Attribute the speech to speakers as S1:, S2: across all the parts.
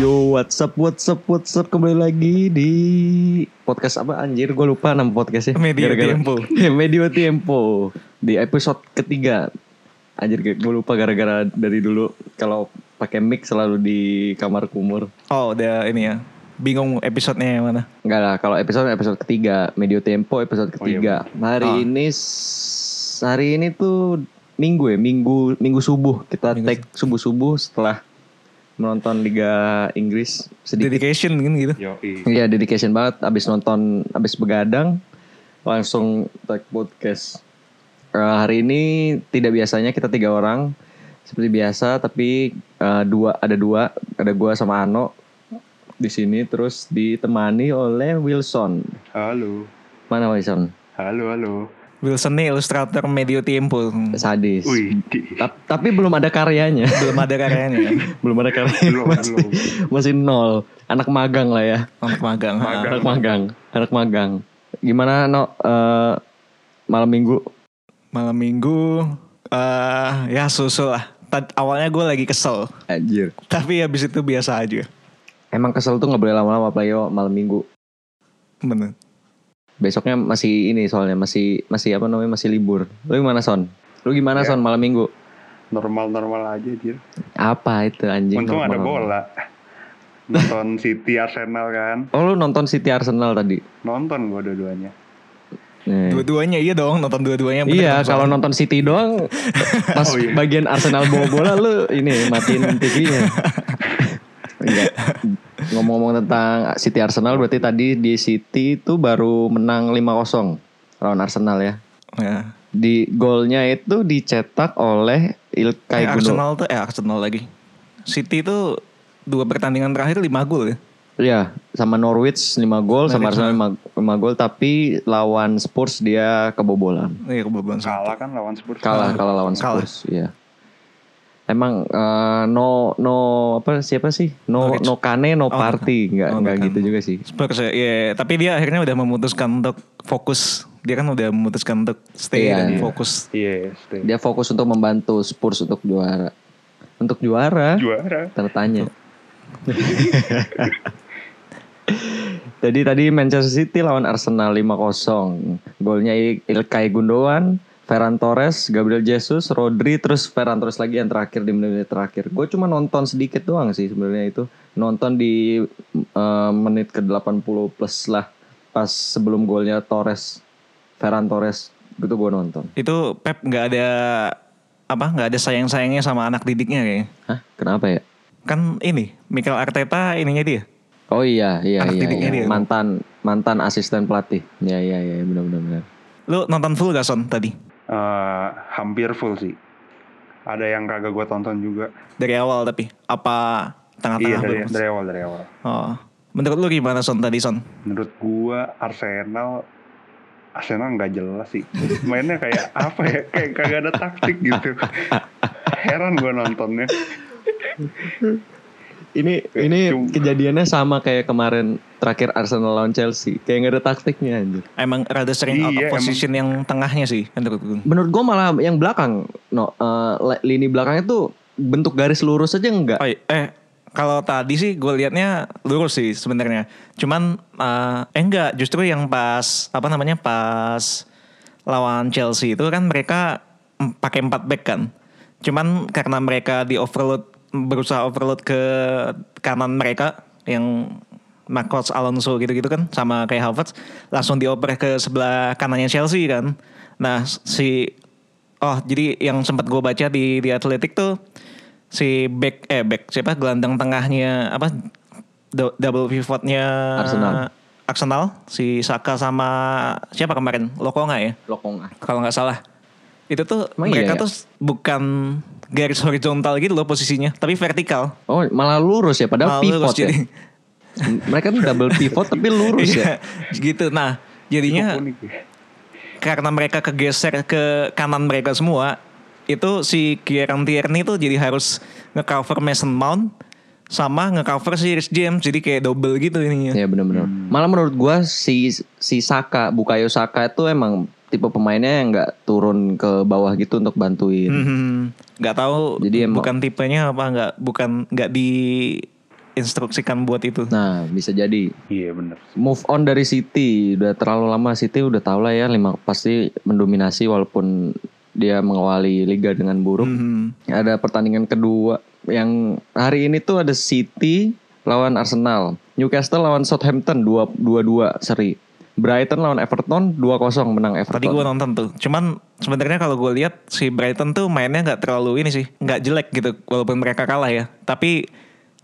S1: Yo, what's up, what's up, what's up Kembali lagi di podcast apa anjir Gue lupa nama podcastnya
S2: Medio Tiempo.
S1: Ya, Medio Tiempo Di episode ketiga Anjir gue lupa gara-gara dari dulu Kalau pakai mic selalu di kamar kumur
S2: Oh udah ini ya Bingung episodenya yang mana
S1: Enggak lah, kalau episode episode ketiga, Medio Tempo episode ketiga. Nah, Hari
S2: Oh, iya, Ah.
S1: ini s- hari ini tuh minggu ya, minggu minggu subuh kita
S2: Minggu
S1: take subuh-subuh setelah menonton Liga Inggris sedikit.
S2: Dedication mungkin gitu
S3: Yoi.
S1: Iya, dedication banget abis nonton abis begadang langsung take podcast. Eh, hari ini tidak biasanya kita tiga orang seperti biasa tapi eh, dua ada dua ada gua sama Ano di sini terus ditemani oleh Wilson
S3: Halo.
S1: Mana Wilson?
S3: Halo, halo.
S2: Wilson nih ilustrator Medio Tiempo
S1: Sadis.
S3: Wih,
S1: Ta- Tapi belum ada karyanya.
S2: Belum ada kan? karyanya
S1: belum ada karyanya.
S3: belum,
S1: masih,
S3: belum.
S1: masih nol. Anak magang lah ya.
S2: Anak magang ha.
S3: Magang.
S1: Anak magang. Anak magang. Gimana no eh, malam minggu?
S2: Malam minggu eh Ya susul lah Tad- Awalnya gue lagi kesel
S1: Anjir.
S2: Tapi habis itu biasa aja
S1: Emang kesel tuh nggak boleh lama-lama apalagi malam minggu.
S2: Bener
S1: Besoknya masih ini soalnya masih masih apa namanya masih libur. Lu gimana Son? Lu gimana
S3: Ya.
S1: Son malam minggu?
S3: Normal-normal aja, Jir.
S1: Apa itu anjing?
S3: Untung ada
S1: normal?
S3: bola. Nonton City Arsenal kan.
S1: Oh lu nonton City Arsenal tadi?
S3: Nonton gua dua-duanya.
S1: Eh.
S2: Dua-duanya iya dong Nonton dua-duanya bener
S1: Iya,
S2: dong,
S1: kalau
S2: soalnya.
S1: nonton City doang pas
S3: Oh, iya.
S1: bagian Arsenal bawa bola lu ini matiin TV-nya. Iya. Ngomong-ngomong tentang City Arsenal berarti tadi di City itu baru menang 5-0 lawan Arsenal ya.
S2: Ya.
S1: Di golnya itu dicetak oleh
S2: Eh,
S1: Ilkay Gundogan.
S2: Arsenal tuh Eh Arsenal lagi City tuh Dua pertandingan terakhir lima gol ya
S1: Iya, sama Norwich 5 gol, sama Arsenal 5, gol tapi lawan Spurs dia kebobolan.
S2: Iya kebobolan satu.
S3: Kalah kan lawan Spurs.
S1: kalah kalah lawan
S2: Ah, Kalah.
S1: Spurs iya emang eh, no no apa siapa sih no
S2: Norwich.
S1: no kane no party nggak
S2: Oh,
S1: nggak
S2: bukan.
S1: gitu juga sih
S2: Spurs ya, iya. tapi dia akhirnya udah memutuskan untuk fokus. Dia kan udah memutuskan untuk stay
S1: Iya,
S2: dan
S1: iya.
S2: fokus.
S3: Yes, deh.
S1: dia fokus untuk membantu Spurs untuk juara untuk juara
S3: Juara.
S1: tertanya jadi tadi Manchester City lawan Arsenal 5-0 golnya Il- Ilkay Gundogan Ferran Torres, Gabriel Jesus, Rodri, terus Ferran Torres lagi yang terakhir di menit-menit terakhir. Gue cuma nonton sedikit doang sih sebenarnya itu. Nonton di eh, menit ke 80 plus lah. Pas sebelum golnya Torres, Ferran Torres. Itu gue nonton.
S2: Itu Pep nggak ada apa nggak ada sayang sayangnya sama anak didiknya kayaknya.
S1: Hah? Kenapa ya?
S2: Kan ini Mikel Arteta ininya dia.
S1: Oh iya, iya,
S2: Anak
S1: iya,
S2: didiknya
S1: iya.
S2: dia.
S1: Mantan mantan asisten pelatih. Iya, iya, iya, benar benar benar.
S2: Lu nonton full gak son tadi
S3: Eh, hampir full sih. Ada yang kagak gua tonton juga.
S2: dari awal tapi apa
S3: iya,
S2: tengah-tengah
S3: dari,
S2: baru?
S3: dari awal, dari awal.
S2: Oh. Menurut lu gimana son tadi son?
S3: Menurut gua Arsenal Arsenal nggak jelas sih mainnya kayak apa ya kayak kagak ada taktik gitu heran gua nontonnya
S1: Ini ini
S3: Cuma-
S1: kejadiannya sama kayak kemarin terakhir Arsenal lawan Chelsea. Kayak nggak ada taktiknya anjir.
S2: Emang rada sering out
S3: Iya,
S2: of
S3: emang.
S2: position yang tengahnya sih menurut gue.
S1: Menurut gue malah yang belakang, no, eh, li- lini belakangnya tuh bentuk garis lurus aja enggak.
S2: Oh, iya. eh kalau tadi sih gue liatnya lurus sih sebenarnya. Cuman eh, eh enggak justru yang pas apa namanya pas lawan Chelsea itu kan mereka em- pakai empat back kan. Cuman karena mereka di overload berusaha overload ke kanan mereka yang Marcos Alonso gitu-gitu kan sama kayak Havertz langsung dioper ke sebelah kanannya Chelsea kan. Nah si oh jadi yang sempat gue baca di di Athletic tuh si back eh back siapa gelandang tengahnya apa do- double pivotnya
S1: Arsenal.
S2: Arsenal si Saka sama siapa kemarin Lokonga ya
S1: Lokong ah.
S2: kalau nggak salah itu tuh
S1: Emang iya
S2: mereka
S1: ya?
S2: tuh bukan garis horizontal gitu loh posisinya tapi vertikal
S1: Oh malah lurus ya, padahal
S2: Malah
S1: pivot
S2: lurus
S1: ya.
S2: jadi.
S1: M- Mereka tuh double pivot tapi lurus ya.
S2: Iya, gitu nah jadinya
S3: Unik ya.
S2: karena mereka kegeser ke kanan mereka semua itu si Kieran Tierney tuh jadi harus ngecover Mason Mount sama ngecover si Rich James jadi kayak double gitu ininya
S1: Iya benar-benar. Malah menurut gua si si Saka, Bukayo Saka itu emang tipe pemainnya yang nggak turun ke bawah gitu untuk bantuin.
S2: Mhm. nggak tahu
S1: Jadi emang-
S2: bukan tipenya apa nggak bukan nggak di diinstruksikan buat itu.
S1: Nah, bisa jadi
S3: Iya bener.
S1: move on dari City udah terlalu lama City udah tau lah ya lima pasti mendominasi walaupun dia mengawali liga dengan buruk.
S2: Mhm.
S1: Ada pertandingan kedua yang hari ini tuh ada City lawan Arsenal, Newcastle lawan Southampton 2-2 seri. Brighton lawan Everton 2-0 menang Everton.
S2: Tadi gue nonton tuh. Cuman sebenarnya kalau gue lihat si Brighton tuh mainnya nggak terlalu ini sih, nggak jelek gitu walaupun mereka kalah ya. Tapi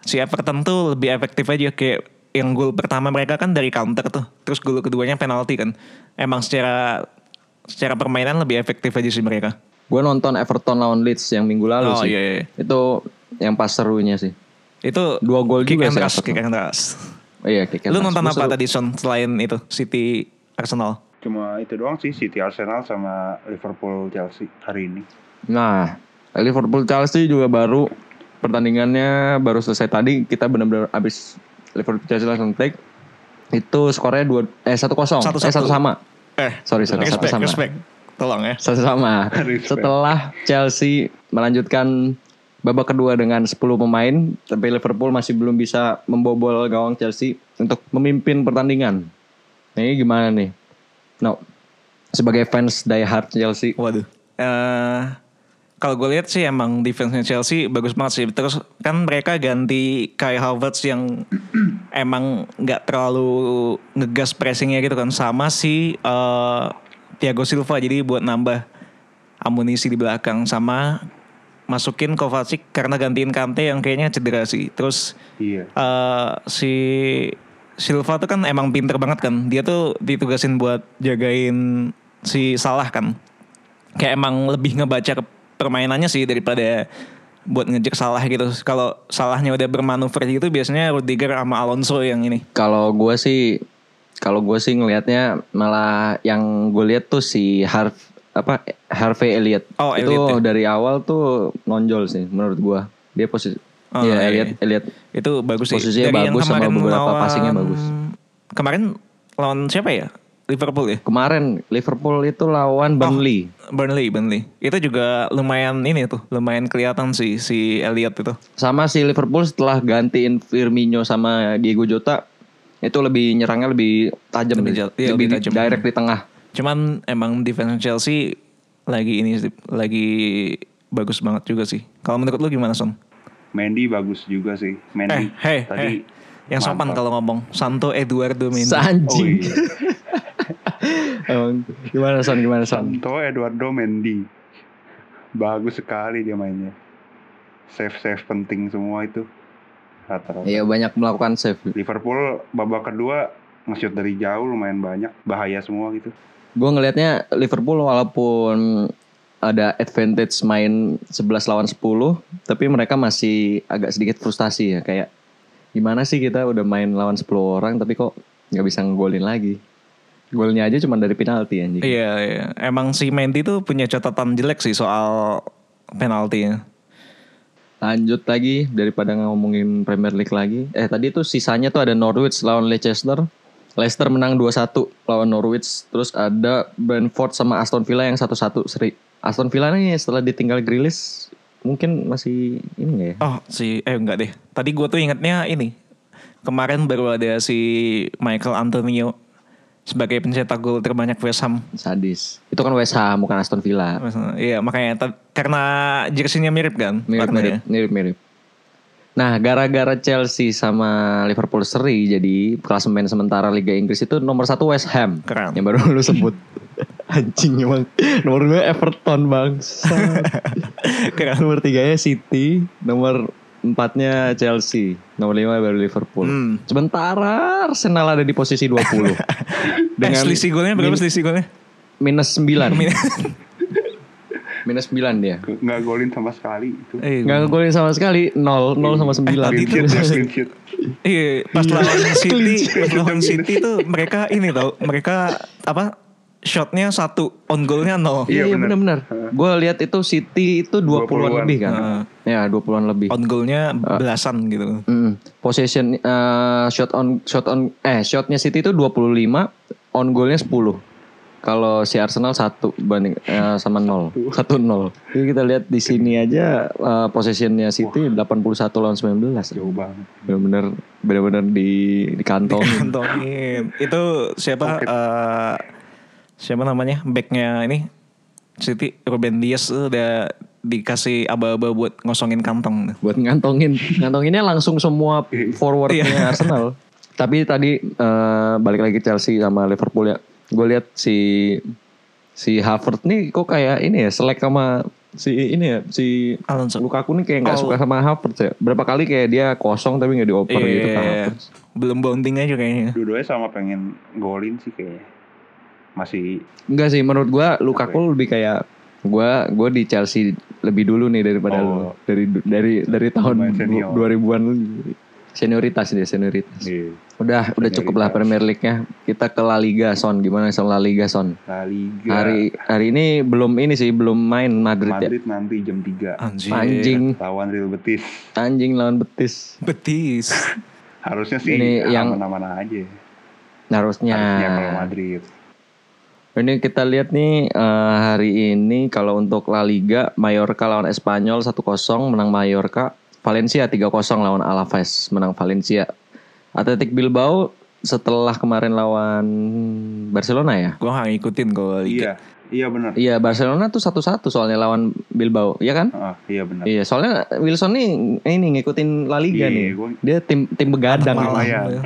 S2: si Everton tuh lebih efektif aja kayak yang gol pertama mereka kan dari counter tuh. Terus gol keduanya penalti kan. Emang secara secara permainan lebih efektif aja sih mereka.
S1: Gue nonton Everton lawan Leeds yang minggu lalu
S2: Oh,
S1: sih.
S2: iya, iya.
S1: Itu yang pas serunya sih.
S2: Itu
S1: Dua gol
S2: kick
S1: juga sih
S2: and rush,
S1: Everton.
S2: kick and rush.
S1: Iya, kick and
S2: Lu
S1: rush.
S2: nonton
S1: Gua
S2: apa
S1: seru.
S2: tadi Son selain itu City Arsenal?
S3: Cuma itu doang sih City Arsenal sama Liverpool Chelsea hari ini.
S1: Nah, Liverpool Chelsea juga baru pertandingannya baru selesai tadi kita benar-benar abis Liverpool Chelsea langsung take itu skornya dua eh satu kosong
S2: Satu-satu.
S1: eh satu sama
S2: Eh,
S1: sorry sorry satu
S2: respect,
S1: sama
S2: respect. Tolong ya.
S1: satu sama
S3: Respect.
S1: setelah Chelsea melanjutkan babak kedua dengan 10 pemain tapi Liverpool masih belum bisa membobol gawang Chelsea untuk memimpin pertandingan Nah, ini gimana nih no sebagai fans diehard Chelsea
S2: Waduh. Eh, kalau gue lihat sih emang defense-nya Chelsea bagus banget sih. Terus kan mereka ganti Kai Havertz yang emang nggak terlalu ngegas pressingnya gitu kan sama si eh, Thiago Silva jadi buat nambah amunisi di belakang sama masukin Kovacic karena gantiin Kante yang kayaknya cedera sih. Terus
S3: Iya.
S2: eh, si Silva tuh kan emang pinter banget kan. Dia tuh ditugasin buat jagain si Salah kan. Kayak emang lebih ngebaca ke- permainannya sih daripada buat ngejek Salah gitu. Kalau Salahnya udah bermanuver gitu biasanya Rudiger sama Alonso yang ini.
S1: Kalau gue sih, kalau gue sih ngelihatnya malah yang gue lihat tuh si Harv apa Harvey Elliott
S2: Oh,
S1: itu
S2: Elliott
S1: dari awal tuh nonjol sih menurut gue. Dia posisi,
S2: Oh,
S1: ya
S2: iya.
S1: Elliott Elliott
S2: Itu bagus sih.
S1: Posisinya bagus sama beberapa passingnya bagus.
S2: Kemarin lawan siapa ya? Liverpool ya?
S1: kemarin Liverpool itu
S2: Oh.
S1: lawan Burnley.
S2: Burnley, Burnley. Itu juga lumayan ini tuh, lumayan kelihatan sih si Elliot itu.
S1: Sama si Liverpool setelah gantiin Firmino sama Diego Jota itu lebih nyerangnya lebih tajam,
S2: Lebih
S1: sih.
S2: jal- iya, lebih tajam.
S1: direct di tengah.
S2: Cuman emang defense Chelsea lagi ini sih, lagi bagus banget juga sih. Kalau menurut lu gimana Son?
S3: Mendy bagus juga sih.
S2: Eh,
S3: Mendy
S2: hei,
S3: tadi
S2: hei. Yang sopan kalau ngomong. Santo Eduardo Mendy.
S3: Oh
S1: Sanjing.
S3: iya.
S1: Emang,
S2: Oh, iya.
S1: gimana son? Gimana son?
S3: Santo Eduardo Mendy. Bagus sekali dia mainnya. Save-save penting semua itu. Rata-rata.
S1: Iya banyak melakukan save.
S3: Liverpool babak kedua nge-shoot dari jauh lumayan banyak. Bahaya semua gitu.
S1: Gue ngelihatnya Liverpool walaupun ada advantage main 11 lawan 10, tapi mereka masih agak sedikit frustasi ya kayak gimana sih kita udah main lawan 10 orang tapi kok nggak bisa ngegolin lagi. Golnya aja cuma dari penalti anjing.
S2: Iya, iya. Emang si Mendy tuh punya catatan jelek sih soal penaltinya.
S1: Lanjut lagi daripada ngomongin Premier League lagi. Eh tadi tuh sisanya tuh ada Norwich lawan Leicester. Leicester menang 2-1 lawan Norwich. Terus ada Brentford sama Aston Villa yang 1-1 seri. Aston Villa nih setelah ditinggal Grealish mungkin masih ini nggak ya?
S2: Oh, si eh enggak deh. Tadi gua tuh ingetnya ini. Kemarin baru ada si Michael Antonio sebagai pencetak gol terbanyak West Ham.
S1: Sadis. Itu kan West Ham bukan Aston Villa.
S2: Iya, makanya ta- karena jersinya mirip kan? warnanya.
S1: Mirip-mirip, mirip-mirip. Nah, gara-gara Chelsea sama Liverpool seri, jadi klasemen sementara Liga Inggris itu nomor satu West Ham.
S2: Keren.
S1: Yang baru lu sebut. Anjing emang. Nomor dua Everton bang.
S2: Keren.
S1: nomor tiganya City. Nomor empatnya Chelsea. Nomor lima baru Liverpool.
S2: Hmm.
S1: Sementara Arsenal ada di posisi 20.
S2: eh, selisih golnya berapa
S1: min-
S2: selisih golnya?
S1: Minus 9. minus 9 dia.
S3: Nggak golin sama sekali itu.
S2: Eh,
S1: Nggak ngegolin sama sekali. 0. 0 sama 9.
S2: tadi
S3: Clean
S2: itu-
S3: sheet ya, clean sheet.
S2: Iya, pas lawan City, pas lawan City tuh mereka ini tau, mereka apa? Shotnya satu, on goalnya nol.
S1: Iya,
S3: Iya,
S1: iya
S3: bener.
S1: benar-benar. Gue lihat itu City itu 20-an,
S3: 20-an.
S1: lebih kan. Ya, 20-an lebih.
S2: On goalnya belasan gitu.
S1: Mm. Possession eh, shot on shot on eh shotnya City itu 25, on goalnya 10. Kalau si Arsenal satu banding eh, sama nol, satu nol. Jadi kita lihat di sini aja eh, posisinya City 81 lawan 19.
S3: Jauh banget.
S1: Bener-bener bener-bener di di kantong.
S2: Antongin. Itu siapa eh, siapa namanya? Backnya ini City Ruben Dias tuh udah dikasih aba-aba buat ngosongin kantong.
S1: buat ngantongin ngantonginnya langsung semua forwardnya
S2: Iya.
S1: Arsenal tapi tadi eh, balik lagi Chelsea sama Liverpool ya gue lihat si si Havertz nih kok kayak ini ya selek sama si ini ya si
S2: Alonso.
S1: Lukaku nih kayak nggak
S2: Oh.
S1: suka sama Havertz ya berapa kali kayak dia kosong tapi nggak dioper
S2: Iya,
S1: gitu ke Havertz
S2: belum bonding aja kayaknya.
S3: Dua-duanya sama pengen golin sih kayaknya. Masih
S1: enggak sih menurut gue Lukaku
S2: Iya.
S1: lebih kayak gue gue di Chelsea lebih dulu nih daripada lu.
S3: Oh.
S1: dari dari dari tahun
S3: Main senior.
S1: 2000-an senioritas dia senioritas
S3: di
S1: Udah, udah cukup lah Premier League-nya. Kita ke La Liga Son. Gimana soal La Liga Son?
S3: La Liga.
S1: Hari hari ini belum ini sih, belum main Madrid,
S3: Madrid nanti jam
S1: ya.
S3: 3
S2: Anjir.
S1: Anjing,
S3: lawan Real Betis.
S1: anjing lawan Betis.
S2: Betis.
S3: Harusnya sih
S1: Ini yang- Ya.
S3: mana-mana aja.
S1: Nah, Harusnya.
S3: Harusnya kalau Madrid.
S1: Ini kita lihat nih eh, hari ini kalau untuk La Liga Mallorca lawan Espanyol 1-0 menang Mallorca, Valencia 3-0 lawan Alaves menang Valencia. Athletic Bilbao setelah kemarin lawan Barcelona ya.
S2: Gue gak ngikutin kalau liga.
S3: Iya, iya benar.
S1: Iya, Barcelona tuh satu-satu soalnya lawan Bilbao, ya kan?
S3: Ah, iya benar.
S1: Iya, soalnya Wilson nih ini ngikutin La Liga
S3: Iya,
S1: nih.
S3: gua-
S1: Dia tim tim begadang
S2: Malam.
S1: nih.
S3: lumayan.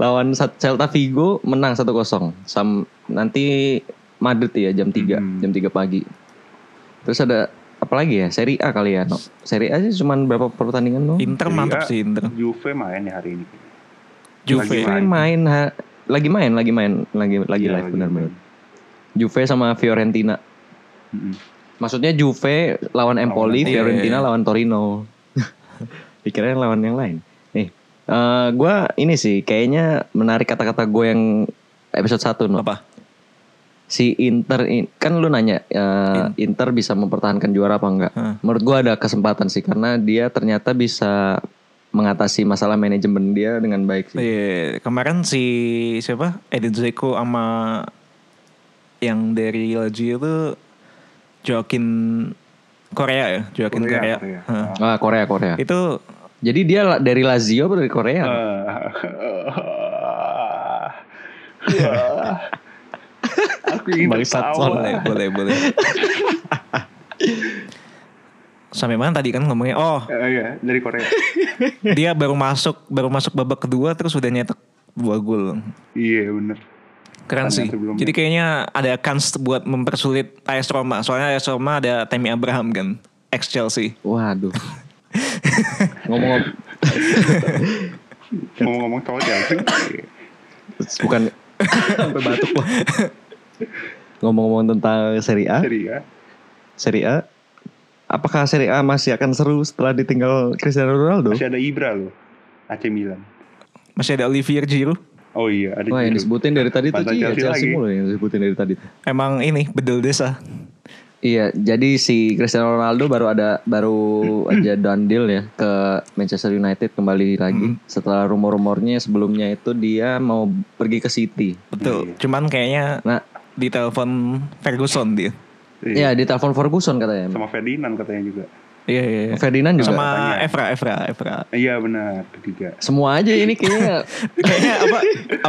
S1: lawan Sa- Celta Vigo menang 1-0. Sam nanti Madrid ya jam 3,
S3: Hmm.
S1: jam 3 pagi. Terus ada apa lagi ya? Serie A kali ya. No. Serie A sih cuman berapa pertandingan tuh?
S2: Oh, Inter mantap
S3: Iya.
S2: sih Inter.
S3: Juve main ya hari ini.
S2: Juve.
S1: Juve main ha- lagi main, lagi main, lagi lagi
S3: Iya,
S1: live benar benar. Juve sama Fiorentina.
S3: Mm-mm.
S1: Maksudnya Juve lawan Empoli,
S2: Empoli.
S1: Fiorentina
S2: Iya.
S1: lawan Torino. Pikirannya lawan yang lain. Nih, eh gue ini sih kayaknya menarik kata-kata gue yang episode 1 no.
S2: Apa?
S1: Si Inter in- kan lu nanya eh, Inter bisa mempertahankan juara apa enggak?
S2: Hah.
S1: Menurut gue ada kesempatan sih karena dia ternyata bisa mengatasi masalah manajemen dia dengan baik sih.
S2: Iya, kemarin si siapa? Edin Dzeko sama yang dari Lazio itu Joaquin Korea ya, Joaquin
S3: Korea,
S2: Korea.
S3: Korea. Iya.
S2: Hah.
S1: Ah, Korea Korea.
S2: Itu
S1: Jadi dia la- dari Lazio atau dari Korea?
S2: Iya.
S3: Ah. Wah. Aku ingin
S1: Bangsat,
S3: tertawa.
S2: boleh, boleh, boleh. Sampai mana tadi kan ngomongnya? Oh,
S3: Eh, iya, dari Korea.
S2: dia baru masuk baru masuk babak kedua terus udah nyetak dua gol.
S3: iya, bener.
S2: Keren
S3: Pertandingan
S2: sih.
S3: sebelumnya.
S2: Jadi kayaknya ada kans buat mempersulit AS Roma. Soalnya AS Roma ada Tammy Abraham kan, ex Chelsea.
S1: Waduh. Ngomong
S3: Ngomong-ngomong soal Chelsea. iya.
S1: Terus bukan sampai batuk gua. Ngomong-ngomong tentang Serie A,
S3: Jadi ya.
S1: Serie A, apakah Serie A masih akan seru setelah ditinggal Cristiano Ronaldo?
S3: Masih ada Ibra loh. AC Milan.
S2: Masih ada Olivier Giroud.
S3: Oh iya, ada
S1: Wah yang
S3: Giroud.
S1: disebutin dari tadi tuh
S3: Mantan
S1: iya,
S3: Chelsea
S1: Chelsea
S3: lagi.
S1: mulu yang disebutin dari tadi.
S2: Emang ini bedel desa.
S1: Iya, jadi si Cristiano Ronaldo baru ada baru aja done deal ya ke Manchester United kembali lagi setelah rumor-rumornya sebelumnya itu dia mau pergi ke City.
S2: Betul. Cuman kayaknya
S1: Nah,
S2: ditelepon Ferguson dia.
S1: ya
S3: Iya.
S1: di telepon Ferguson katanya.
S3: Sama Ferdinand katanya juga.
S2: Iya, iya. iya.
S1: Ferdinand juga.
S2: Sama Evra, Evra, Evra.
S3: Iya benar, ketiga.
S1: Semua aja ini kayaknya
S2: Kayaknya apa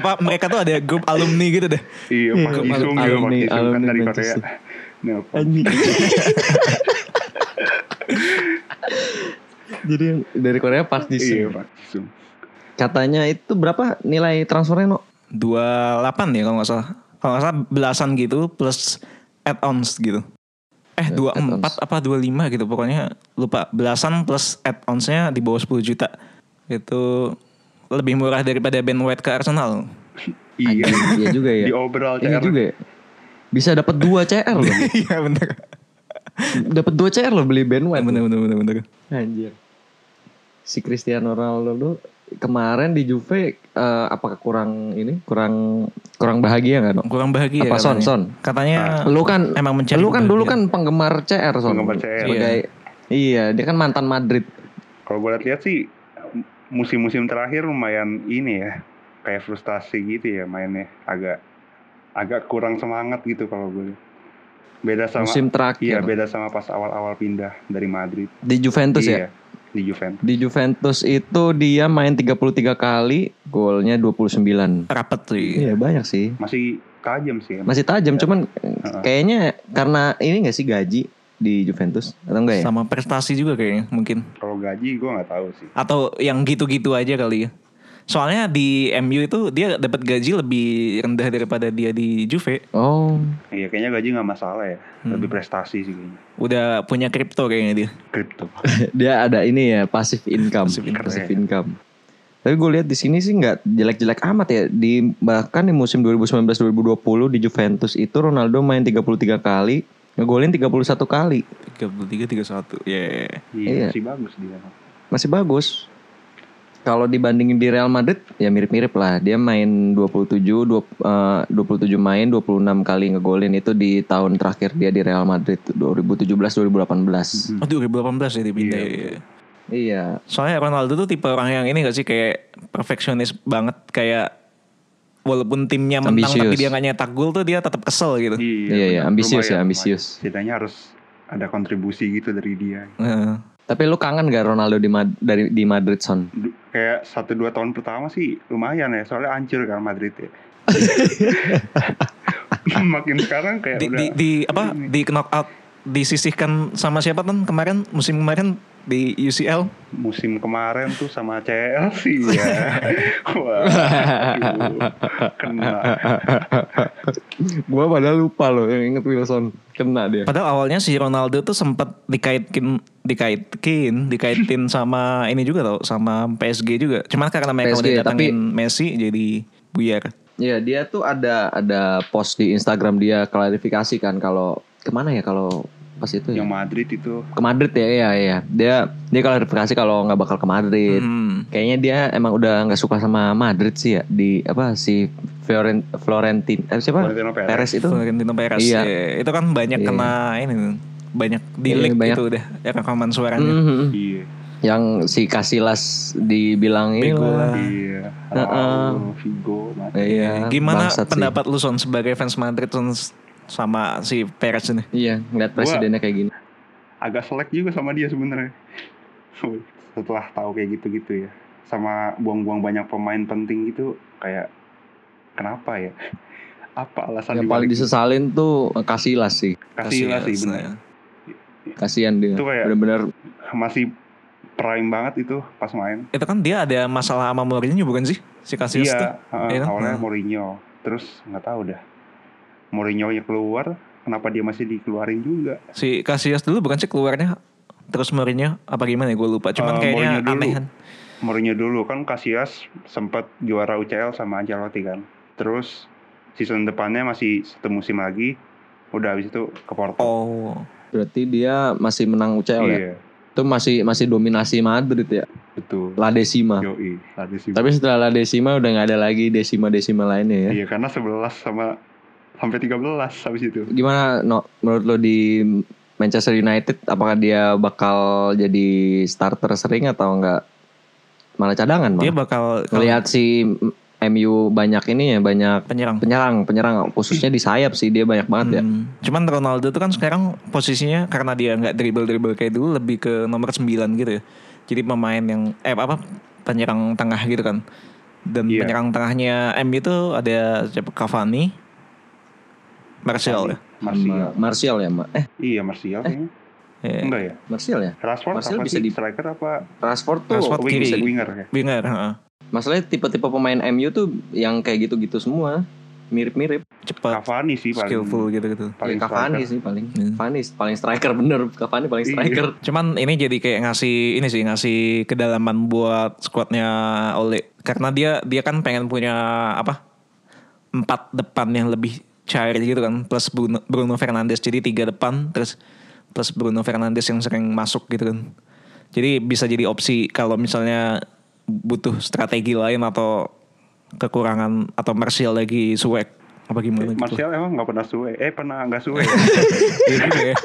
S2: apa mereka tuh ada grup alumni gitu deh.
S3: Iya, Pak
S1: Iya,
S3: Isung juga
S1: alumni-
S3: Pak Isung kan Nah,
S1: alumni
S3: dari Korea.
S1: Manchester.
S3: Nelpon.
S1: Anjing. Jadi yang dari Korea pas di
S3: Iya, Pak Isung.
S1: Katanya itu berapa nilai transfernya no?
S2: 28 ya kalau nggak salah. Kalau nggak salah belasan gitu plus add-ons gitu. Eh 24 apa 25 gitu pokoknya lupa. Belasan plus add-onsnya di bawah 10 juta. Itu lebih murah daripada Ben White ke Arsenal.
S3: Iya.
S1: Iya juga ya.
S3: Di overall
S1: Ini
S3: CR.
S1: juga ya. Bisa dapat 2 CR loh.
S2: Iya bener.
S1: dapat 2 CR loh beli Ben White.
S2: Bener bener bener bener.
S1: Anjir. Si Cristiano Ronaldo kemarin di Juve eh, apakah kurang ini kurang kurang bahagia nggak no?
S2: Kurang
S3: Iya,
S2: bahagia
S1: Apa, Son,
S2: katanya.
S1: Son?
S2: Katanya
S1: Lu kan
S2: emang mencari
S1: Lu kan dulu
S2: kebahagiaan.
S1: kan penggemar CR Son.
S3: Penggemar CR.
S1: Sebagai, iya, dia kan mantan Madrid.
S3: Kalau boleh lihat sih musim-musim terakhir lumayan ini ya. Kayak frustasi gitu ya mainnya agak agak kurang semangat gitu kalau gue. Beda sama
S1: Musim terakhir.
S3: iya beda sama pas awal-awal pindah dari Madrid.
S1: Di Juventus ya?
S3: iya, di Juventus.
S1: Di Juventus itu dia main 33 kali, golnya 29.
S2: Rapet sih.
S1: Iya, banyak sih.
S3: Masih tajam sih. emang.
S1: Masih tajam, cuman kayaknya karena ini gak sih gaji di Juventus atau enggak ya?
S2: Sama prestasi juga kayaknya mungkin.
S3: Kalau gaji gue nggak tahu sih.
S2: Atau yang gitu-gitu aja kali ya. Soalnya di MU itu dia dapat gaji lebih rendah daripada dia di Juve.
S1: Oh,
S3: Iya kayaknya gaji nggak masalah ya. Lebih prestasi sih kayaknya.
S2: Udah punya kripto kayaknya dia.
S3: Kripto.
S1: dia ada ini ya pasif income, pasif income.
S3: iya.
S1: Tapi gue lihat di sini sih nggak jelek-jelek amat ya. Di bahkan di musim 2019-2020 di Juventus itu Ronaldo main 33 kali, ngegolin 31 kali.
S2: 33 31. Ya.
S1: Iya.
S3: Iya, masih bagus dia.
S1: Masih bagus. Kalau dibandingin di Real Madrid ya mirip-mirip lah. Dia main 27 dua- eh, 27 main 26 kali ngegolin itu di tahun terakhir dia di Real Madrid 2017-2018.
S2: Oh 2018 ya dipindah.
S3: Iya.
S2: ya.
S1: Iya.
S2: Soalnya Ronaldo tuh tipe orang yang ini gak sih kayak perfeksionis banget kayak walaupun timnya menang tapi
S1: Ambisius.
S2: dia gak nyetak gol tuh dia tetap kesel gitu.
S3: Iya,
S1: Iya, iya,
S3: benar.
S1: ambisius
S3: Lumayan,
S1: ya,
S3: lumayan.
S1: ambisius.
S3: Setidaknya harus ada kontribusi gitu dari dia.
S2: Heeh.
S1: Tapi lu kangen gak Ronaldo di Mad- dari di Madrid son?
S3: Du- Kayak satu dua tahun pertama sih lumayan ya, soalnya hancur kan Madrid ya. Makin sekarang kayak
S2: di,
S3: Iya, udah
S2: di, di apa di knockout disisihkan sama siapa kan kemarin musim kemarin di UCL
S3: musim kemarin tuh sama Chelsea ya. Wah, aduh, kena.
S1: gua padahal lupa loh yang inget Wilson kena dia.
S2: padahal awalnya si Ronaldo tuh sempat dikaitkin dikaitkin dikaitin sama ini juga tau sama PSG juga cuman karena
S1: PSG,
S2: mereka udah datangin
S1: tapi-
S2: Messi jadi buyar
S1: Iya dia tuh ada ada post di Instagram dia klarifikasi kan kalau kemana ya kalau pas itu ya
S3: Yang Madrid itu
S1: ke Madrid ya iya iya dia dia klarifikasi kalau nggak bakal ke Madrid.
S2: Hmm.
S1: Kayaknya dia emang udah nggak suka sama Madrid sih ya di apa si Florent Florentin eh, siapa
S3: Florentino Perez.
S1: Perez itu
S2: Florentino Perez
S1: Iya.
S2: ya, itu kan banyak
S1: Iya.
S2: kena ini banyak di
S1: Iya,
S2: leak
S1: banyak.
S2: itu udah ya, rekaman suaranya
S1: Mhm.
S3: Iya.
S1: yang si Casillas dibilang ini
S2: Bego
S1: lah.
S2: lah.
S3: Iya. Raul, Figo, Madrid.
S1: Iya,
S2: gimana
S1: bangsat sih.
S2: pendapat lu son sebagai fans Madrid Son, sama si Perez ini
S1: Iya, ngeliat presidennya kayak gini.
S3: agak selek juga sama dia sebenarnya. Setelah tahu kayak gitu-gitu ya. Sama buang-buang banyak pemain penting gitu kayak kenapa ya? Apa alasan
S2: Ya,
S1: Yang paling
S3: dibalik
S1: disesalin tuh Casillas sih.
S3: kasih lah sih
S2: Casillas,
S3: bener.
S2: nah.
S1: Kasihan dia.
S3: Itu kayak-
S1: Bener-bener
S3: Masih prime banget itu pas main.
S2: itu kan dia ada masalah sama Mourinho bukan sih si Casillas tuh
S3: Iya, heeh,
S2: Iya kan?
S3: awalnya
S2: Nah.
S3: Mourinho. Terus nggak tahu dah. Mourinho nya keluar, kenapa dia masih dikeluarin juga?
S2: si Casillas dulu bukan sih keluarnya terus Mourinho apa gimana ya gue lupa cuman
S3: Eh,
S2: kayaknya
S3: Mourinho dulu.
S2: aneh kan
S3: Mourinho dulu kan Casillas sempat juara UCL sama Ancelotti kan. Terus season depannya masih satu musim lagi. Udah habis itu ke Porto.
S2: oh
S1: berarti dia masih menang UCL ya.
S3: iya,
S1: Itu masih masih dominasi Madrid ya.
S3: betul.
S1: La Decima.
S3: Yoi, tadi sih.
S1: Tapi setelah La Decima udah nggak ada lagi desima-desima lainnya ya.
S3: Iya, karena 11 sama sampai 13 habis itu.
S1: Gimana no, menurut lo di Manchester United apakah dia bakal jadi starter sering atau enggak malah cadangan
S2: dia
S1: malah.
S2: bakal
S1: Ngelihat si MU banyak ini ya banyak
S2: penyerang
S1: penyerang penyerang khususnya di sayap sih dia banyak banget ya.
S2: Hmm. Cuman Ronaldo tuh kan sekarang posisinya karena dia nggak dribble-dribble kayak dulu lebih ke nomor 9 gitu ya. Jadi pemain yang eh apa penyerang tengah gitu kan. Dan
S3: Iya.
S2: penyerang tengahnya M itu ada siapa Cavani, Martial ya.
S1: Martial.
S3: Martial.
S1: Martial ya, Ma? Eh,
S3: Iya, Martial kayaknya.
S2: Iya.
S3: Enggak ya?
S1: Martial ya?
S3: Rashford
S1: Martial
S3: apa
S1: bisa
S3: sih?
S1: di-
S3: Striker apa
S1: Rashford tuh
S2: Rashford
S3: wing,
S2: kiri.
S3: winger ya?
S2: Bingar, heeh.
S1: Masalahnya tipe-tipe pemain MU tuh yang kayak gitu-gitu semua, mirip-mirip.
S2: cepat,
S3: Cavani sih paling.
S2: skillful
S1: Ya,
S2: gitu-gitu.
S3: Paling
S1: Cavani
S3: striker.
S1: sih paling.
S2: Iya.
S1: Cavani paling striker bener, Cavani paling
S3: Iya.
S1: striker.
S2: Cuman ini jadi kayak ngasih ini sih ngasih kedalaman buat squadnya Ole karena dia dia kan pengen punya apa empat depan yang lebih cair gitu kan plus Bruno, Bruno Fernandes jadi tiga depan terus plus Bruno Fernandes yang sering masuk gitu kan jadi bisa jadi opsi kalau misalnya butuh strategi lain atau kekurangan atau Martial lagi suek apa gimana gitu
S3: Eh, Martial emang nggak pernah suwe. Eh, pernah nggak suwe.
S2: Iya juga ya.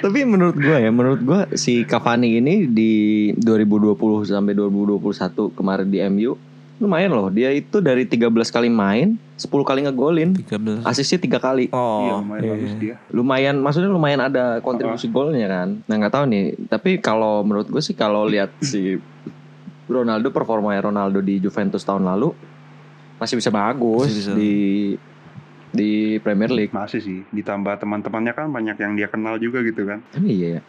S1: Tapi menurut gua ya, menurut gua si Cavani ini di 2020 sampai 2021 kemarin di MU lumayan loh dia itu dari 13 kali main 10 kali ngegolin
S2: 13.
S1: asisnya tiga kali
S2: Oh,
S3: iya lumayan
S2: iya.
S3: bagus dia
S1: lumayan maksudnya lumayan ada kontribusi golnya kan nah nggak tahu nih tapi kalau menurut gue sih kalau lihat si Ronaldo performanya Ronaldo di Juventus tahun lalu masih bisa bagus
S2: Masih bisa.
S1: di di Premier League
S3: masih sih ditambah teman-temannya kan banyak yang dia kenal juga gitu kan
S1: Emang iya ya?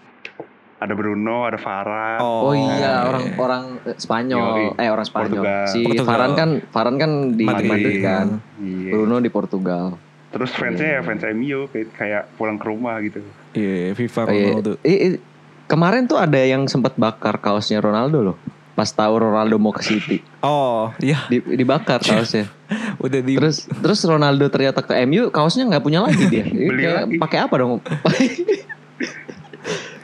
S3: ada Bruno ada Farah
S1: oh, iya orang
S2: iya.
S1: orang eh, Spanyol
S3: Yoi.
S1: eh orang Spanyol
S3: Portugal.
S1: si
S2: Portugal.
S1: Varan kan Varan kan di Madrid,
S2: Madrid.
S1: kan
S3: iya
S1: Bruno di Portugal
S3: terus fansnya ya fans MU kayak, kayak pulang ke rumah gitu
S2: Iya, FIFA
S1: Oh, iya.
S2: Ronaldo.
S1: Ih, ih, kemarin tuh ada yang sempat bakar kaosnya Ronaldo loh pas tahu Ronaldo mau ke City
S2: Oh, iya.
S1: Di- dibakar kaosnya
S2: Udah di
S1: terus terus Ronaldo ternyata ke MU kaosnya nggak punya lagi dia Ini
S3: Beli
S1: kayak,
S3: lagi.
S1: pakai apa dong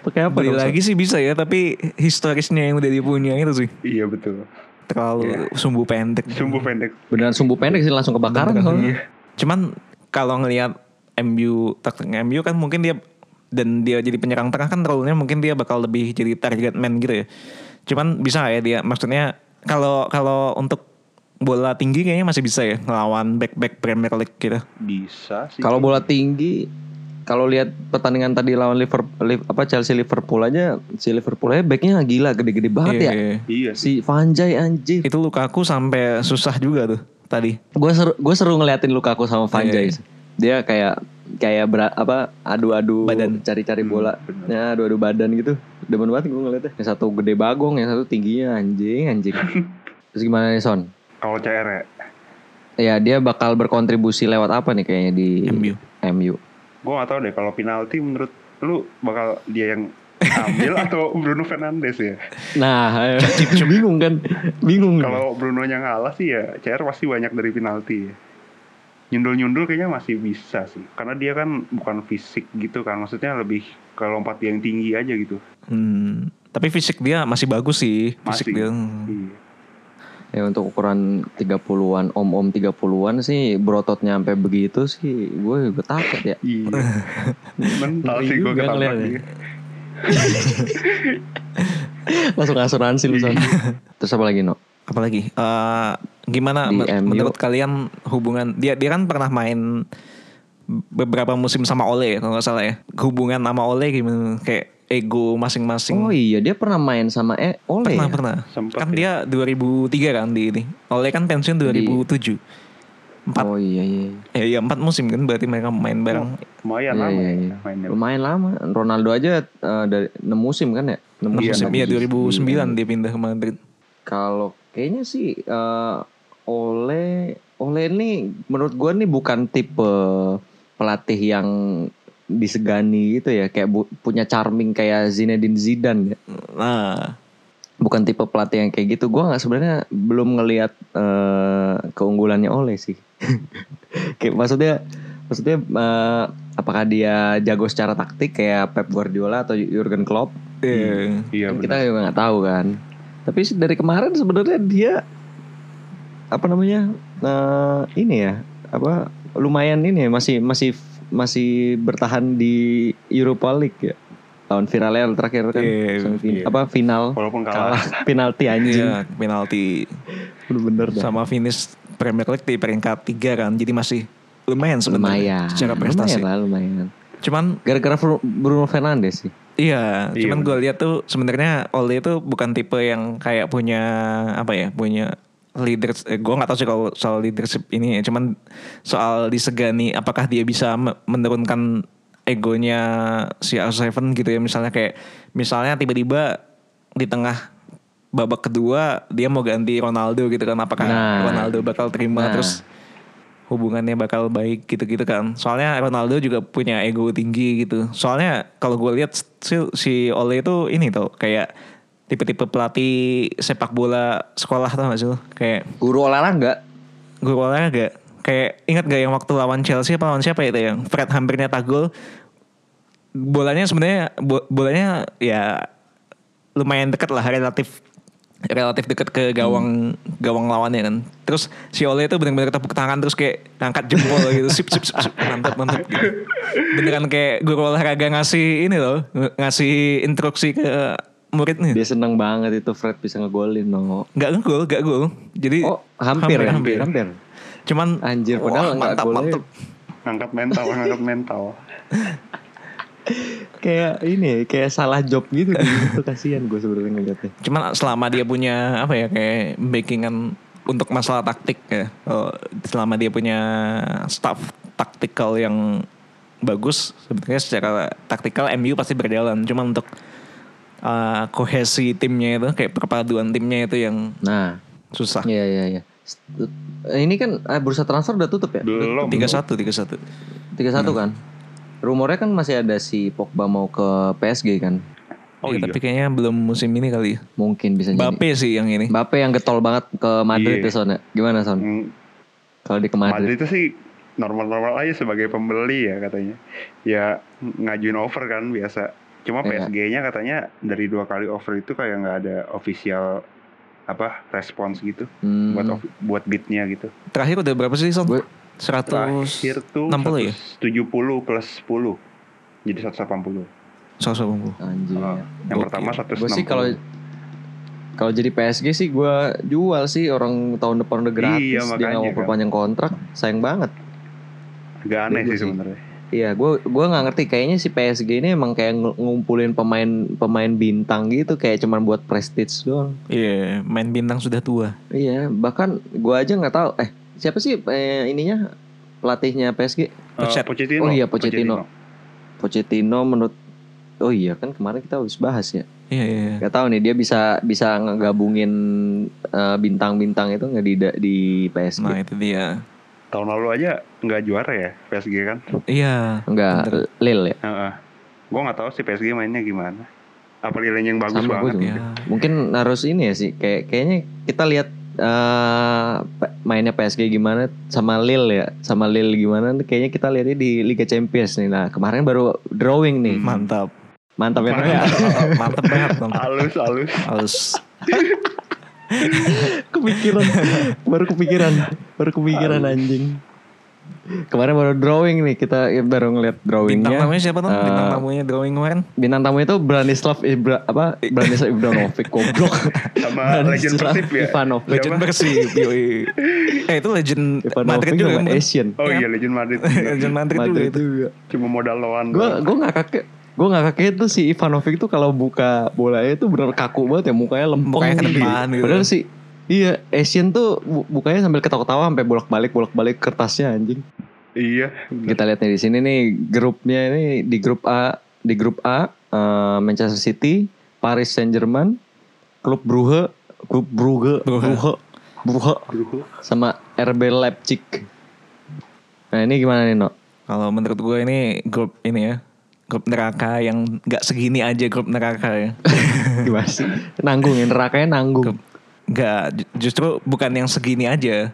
S1: pakai apa
S2: beli
S1: dong Sob?
S2: lagi sih bisa ya, tapi historisnya yang udah dipunya itu sih
S3: iya betul
S1: Iya.
S2: terlalu sumbu pendek.
S3: sumbu pendek
S1: beneran sumbu pendek sih langsung kebakaran soalnya.
S2: Cuman kalau ngelihat MU taktik MU kan mungkin dia dan dia jadi penyerang tengah kan role-nya mungkin dia bakal lebih jadi target man gitu ya. Cuman bisa nggak ya dia maksudnya kalau kalau untuk bola tinggi kayaknya masih bisa ya ngelawan back back Premier League gitu.
S3: bisa sih
S1: kalau bola tinggi kalau lihat pertandingan tadi lawan Liverpool apa Chelsea Liverpool aja si Liverpool aja backnya gila gede-gede banget
S2: Iya,
S1: ya
S2: iya.
S3: iya
S1: si
S3: sih
S1: Van Dijk anjir
S2: Itu Lukaku sampai susah juga tuh tadi.
S1: gue seru gue seru ngeliatin Lukaku sama Van
S2: Iya,
S1: Dijk. dia kayak kayak bera- apa adu-adu
S2: Badan. Hmm.
S1: cari-cari bola
S3: bener.
S1: ya adu-adu badan gitu demen banget gue ngeliatnya yang satu gede bagong yang satu tingginya anjing anjing terus gimana nih Son
S3: kalau CR ya
S1: ya dia bakal berkontribusi lewat apa nih kayaknya di
S2: MU.
S1: MU
S3: gue gak tau deh kalau penalti menurut lu bakal dia yang ambil atau Bruno Fernandes ya
S1: nah bingung kan bingung
S3: kalau Bruno yang ngalah sih ya CR pasti banyak dari penalti ya nyundul-nyundul kayaknya masih bisa sih karena dia kan bukan fisik gitu kan maksudnya lebih ke lompat yang tinggi aja gitu
S2: Hmm, tapi fisik dia masih bagus sih, fisik
S3: Masih.
S2: dia.
S3: iya
S1: ya untuk ukuran 30-an om-om 30-an sih brototnya sampai begitu sih gue juga takut ya
S3: iya mental
S1: Ngeri
S3: sih gue
S1: juga
S3: ketabrak
S1: ngeliatnya.
S3: dia
S1: langsung asuransi lu Son Iya. terus apa lagi no
S2: apalagi eh gimana
S1: Di
S2: men-
S1: MU.
S2: menurut kalian hubungan dia dia kan pernah main beberapa musim sama Ole ya kalau nggak salah ya hubungan sama Ole gimana kayak ego masing-masing
S1: Oh iya dia pernah main sama eh Ole.
S2: pernah
S1: ya?
S2: pernah
S3: Sempet
S2: kan
S3: ya.
S2: dia 2003 kan di ini Ole kan pensiun 2007 empat
S1: Oh iya iya.
S2: ya, ya empat musim kan berarti mereka main bareng
S1: Iya,
S3: lumayan lama
S1: iya,
S3: ya
S1: iya.
S3: mainnya
S1: Lumayan lama. Ronaldo aja eh, dari 6 musim kan ya? 6
S2: enam musim iya 2009
S1: Iya.
S2: dia pindah ke Madrid
S1: Kalau kayaknya sih eh, Ole Ole ini menurut gua nih bukan tipe pelatih yang disegani gitu ya kayak bu- punya charming kayak Zinedine Zidane ya.
S2: nah
S1: Bukan tipe pelatih yang kayak gitu. Gua nggak sebenarnya belum ngelihat eh, keunggulannya Ole sih. kayak maksudnya maksudnya eh, apakah dia jago secara taktik kayak Pep Guardiola atau Jurgen Klopp?
S2: iya.
S3: iya
S1: Kan
S3: benar
S1: kita juga nggak tahu kan. Tapi sih dari kemarin sebenarnya dia apa namanya eh, ini ya apa lumayan ini ya, masih masih masih bertahan di Europa League ya tahun viralnya yang terakhir kan
S2: Iya,
S1: semifinal-
S3: iya.
S1: apa final
S3: walaupun kalah
S1: kalah penalti anjing
S2: Iya, penalti
S1: bener dah
S2: sama finish Premier League di peringkat 3 kan. Jadi masih lumayan sebenarnya
S1: lumayan
S2: secara prestasi.
S1: lumayan lah lumayan
S2: Cuman
S1: gara-gara Fru- Bruno Fernandes sih
S2: iya,
S3: Iya,
S2: cuman gue lihat tuh sebenarnya Ole itu bukan tipe yang kayak punya apa ya, punya leader gue nggak tahu sih kalau soal leadership ini ya, cuman soal disegani apakah dia bisa me- menurunkan egonya si R7 gitu ya misalnya kayak misalnya tiba-tiba di tengah babak kedua dia mau ganti Ronaldo gitu kan apakah
S1: Nah.
S2: Ronaldo bakal terima
S1: Nah.
S2: terus hubungannya bakal baik gitu-gitu kan. Soalnya Ronaldo juga punya ego tinggi gitu. Soalnya kalau gue lihat si, si Ole itu ini tuh kayak tipe-tipe pelatih sepak bola sekolah tau gak sih lo? Kayak
S1: guru olahraga
S2: guru olahraga. Kayak ingat gak yang waktu lawan Chelsea apa lawan siapa itu yang Fred hampir nyetak gol. Bolanya sebenarnya bo- bolanya ya lumayan deket lah relatif relatif deket ke gawang
S1: Hmm.
S2: gawang lawannya kan. Terus si Ole itu benar-benar tepuk tangan terus kayak angkat jempol gitu. Sip sip sip, sip. mantap mantap. Gitu. Beneran kayak guru olahraga ngasih ini loh, ngasih instruksi ke muridnya.
S1: Dia seneng banget itu Fred bisa ngegolin no.
S2: Gak ngegol, gak gol. Jadi
S1: Oh hampir, ya?
S2: hampir,
S1: hampir. Oh,
S2: cuman
S1: Anjir padahal
S2: wah,
S1: nggak
S2: mantap,
S1: boleh.
S2: mantap.
S3: Ngangkat mental, ngangkat mental.
S1: Kayak ini ya, kayak salah job gitu. gitu. Kasian gue sebenarnya ngeliatnya.
S2: Cuman selama dia punya apa ya kayak backingan untuk masalah taktik ya. Oh, selama dia punya staff taktikal yang bagus, sebetulnya secara taktikal MU pasti berjalan. Cuman untuk uh, kohesi timnya itu kayak perpaduan timnya itu yang
S1: Nah,
S2: susah.
S1: iya iya iya. St- Ini kan eh, bursa transfer udah tutup ya?
S3: Oh, Belum.
S2: 31 31.
S1: 31 kan? Rumornya kan masih ada si Pogba mau ke PSG kan?
S3: Oh
S2: Ya,
S3: iya.
S2: Tapi kayaknya belum musim ini kali. ya.
S1: Mungkin bisa jadi.
S2: Mbappe sih yang ini.
S1: Mbappe yang getol banget ke Madrid
S3: Iya.
S1: ya Son ya? Gimana Son?
S3: Hmm,
S1: Kalau di ke Madrid.
S3: Madrid itu sih normal-normal aja sebagai pembeli ya katanya. Ya ngajuin over kan biasa. Cuma
S1: Iya.
S3: PSG-nya katanya dari dua kali over itu kayak nggak ada official apa respons gitu
S1: Hmm.
S3: buat of- buat beatnya gitu.
S2: Terakhir udah berapa sih Son?
S1: Gue-
S2: 100
S3: Terakhir tuh
S2: 60 ya?
S3: 70 plus 10. Jadi 180.
S2: 180.
S1: Anjir.
S3: Oh, yang
S2: Gokil.
S3: pertama 160.
S1: Gue sih kalau kalau jadi PSG sih gue jual sih orang tahun depan udah gratis dia
S3: Iya, makanya
S1: nggak mau
S3: kan.
S1: perpanjang kontrak sayang banget
S3: agak aneh
S1: Gua
S3: sih
S1: sih.
S3: sebenarnya.
S1: iya gue gua nggak ngerti kayaknya si PSG ini emang kayak ng- ngumpulin pemain pemain bintang gitu kayak cuman buat prestige doang
S2: Iya, main bintang sudah tua.
S1: iya bahkan gue aja nggak tahu eh siapa sih eh, ininya pelatihnya PSG
S3: Eh,
S2: Pochet-
S3: Pochettino.
S1: oh iya, Pochettino. Pochettino menurut oh iya kan kemarin kita harus bahas ya
S2: Iya, iya. iya.
S1: Gak tahu nih dia bisa bisa ngegabungin eh, bintang-bintang itu nggak di di PSG.
S2: Nah, itu dia.
S3: Tahun lalu aja nggak juara ya PSG kan.
S2: Iya. Bentar.
S1: Enggak, Lil ya.
S3: Heeh. Gua nggak tahu sih PSG mainnya gimana. Apa nilainya yang bagus
S1: Sama gue
S3: banget?
S1: juga.
S2: Ya.
S1: Mungkin harus ini ya sih. Kayak kayaknya kita lihat eh, pe- mainnya PSG gimana sama Lil ya, sama Lil gimana tuh kayaknya kita lihatnya di Liga Champions nih. Nah, kemarin baru drawing nih.
S2: Mantap.
S1: Mantap ya.
S3: Mantap.
S2: Mantap banget. Mantap.
S3: Alus alus.
S2: Harus
S1: kepikiran. baru kepikiran. Baru kepikiran anjing. Kemarin baru drawing nih kita eh, baru ngeliat drawingnya.
S2: bintang tamunya siapa tuh? Bintang
S1: Eh,
S2: tamunya drawing kemarin.
S1: bintang tamu itu Branislav Ibra, apa Branislav Ibranovic goblok
S3: Sama legend
S1: Branislav
S3: Persib ya?
S1: Ivanovic
S2: Legend Persib. yoi. Eh, itu legend
S1: Ivanovic
S2: Madrid juga.
S1: sama
S2: kan?
S1: Asian
S3: Oh iya Legend Madrid.
S2: Legend Madrid juga
S1: Madrid
S2: itu.
S1: juga
S3: Cuma modal lawan.
S1: gue gue nggak kakek gue nggak kakek itu si Ivanovic tuh kalau buka bolanya itu bener kaku banget ya mukanya lempeng
S2: Mukanya ke depan gitu.
S1: padahal si iya Asian tuh bu- bukanya sambil ketawa-ketawa sampai bolak-balik bolak-balik kertasnya anjing
S3: Iya.
S1: kita lihat nih di sini nih grupnya ini di grup A di grup A eh, Manchester City Paris Saint Germain klub Brugge klub Brugge
S2: Brugge.
S1: Brugge Brugge
S3: Aduh.
S1: sama RB Leipzig nah ini gimana nih No
S2: Kalau menurut gue ini grup ini ya. Grup neraka yang gak segini aja grup neraka ya.
S1: gimana sih nanggung ya nerakanya nanggung
S2: Gak, ju- justru bukan yang segini aja.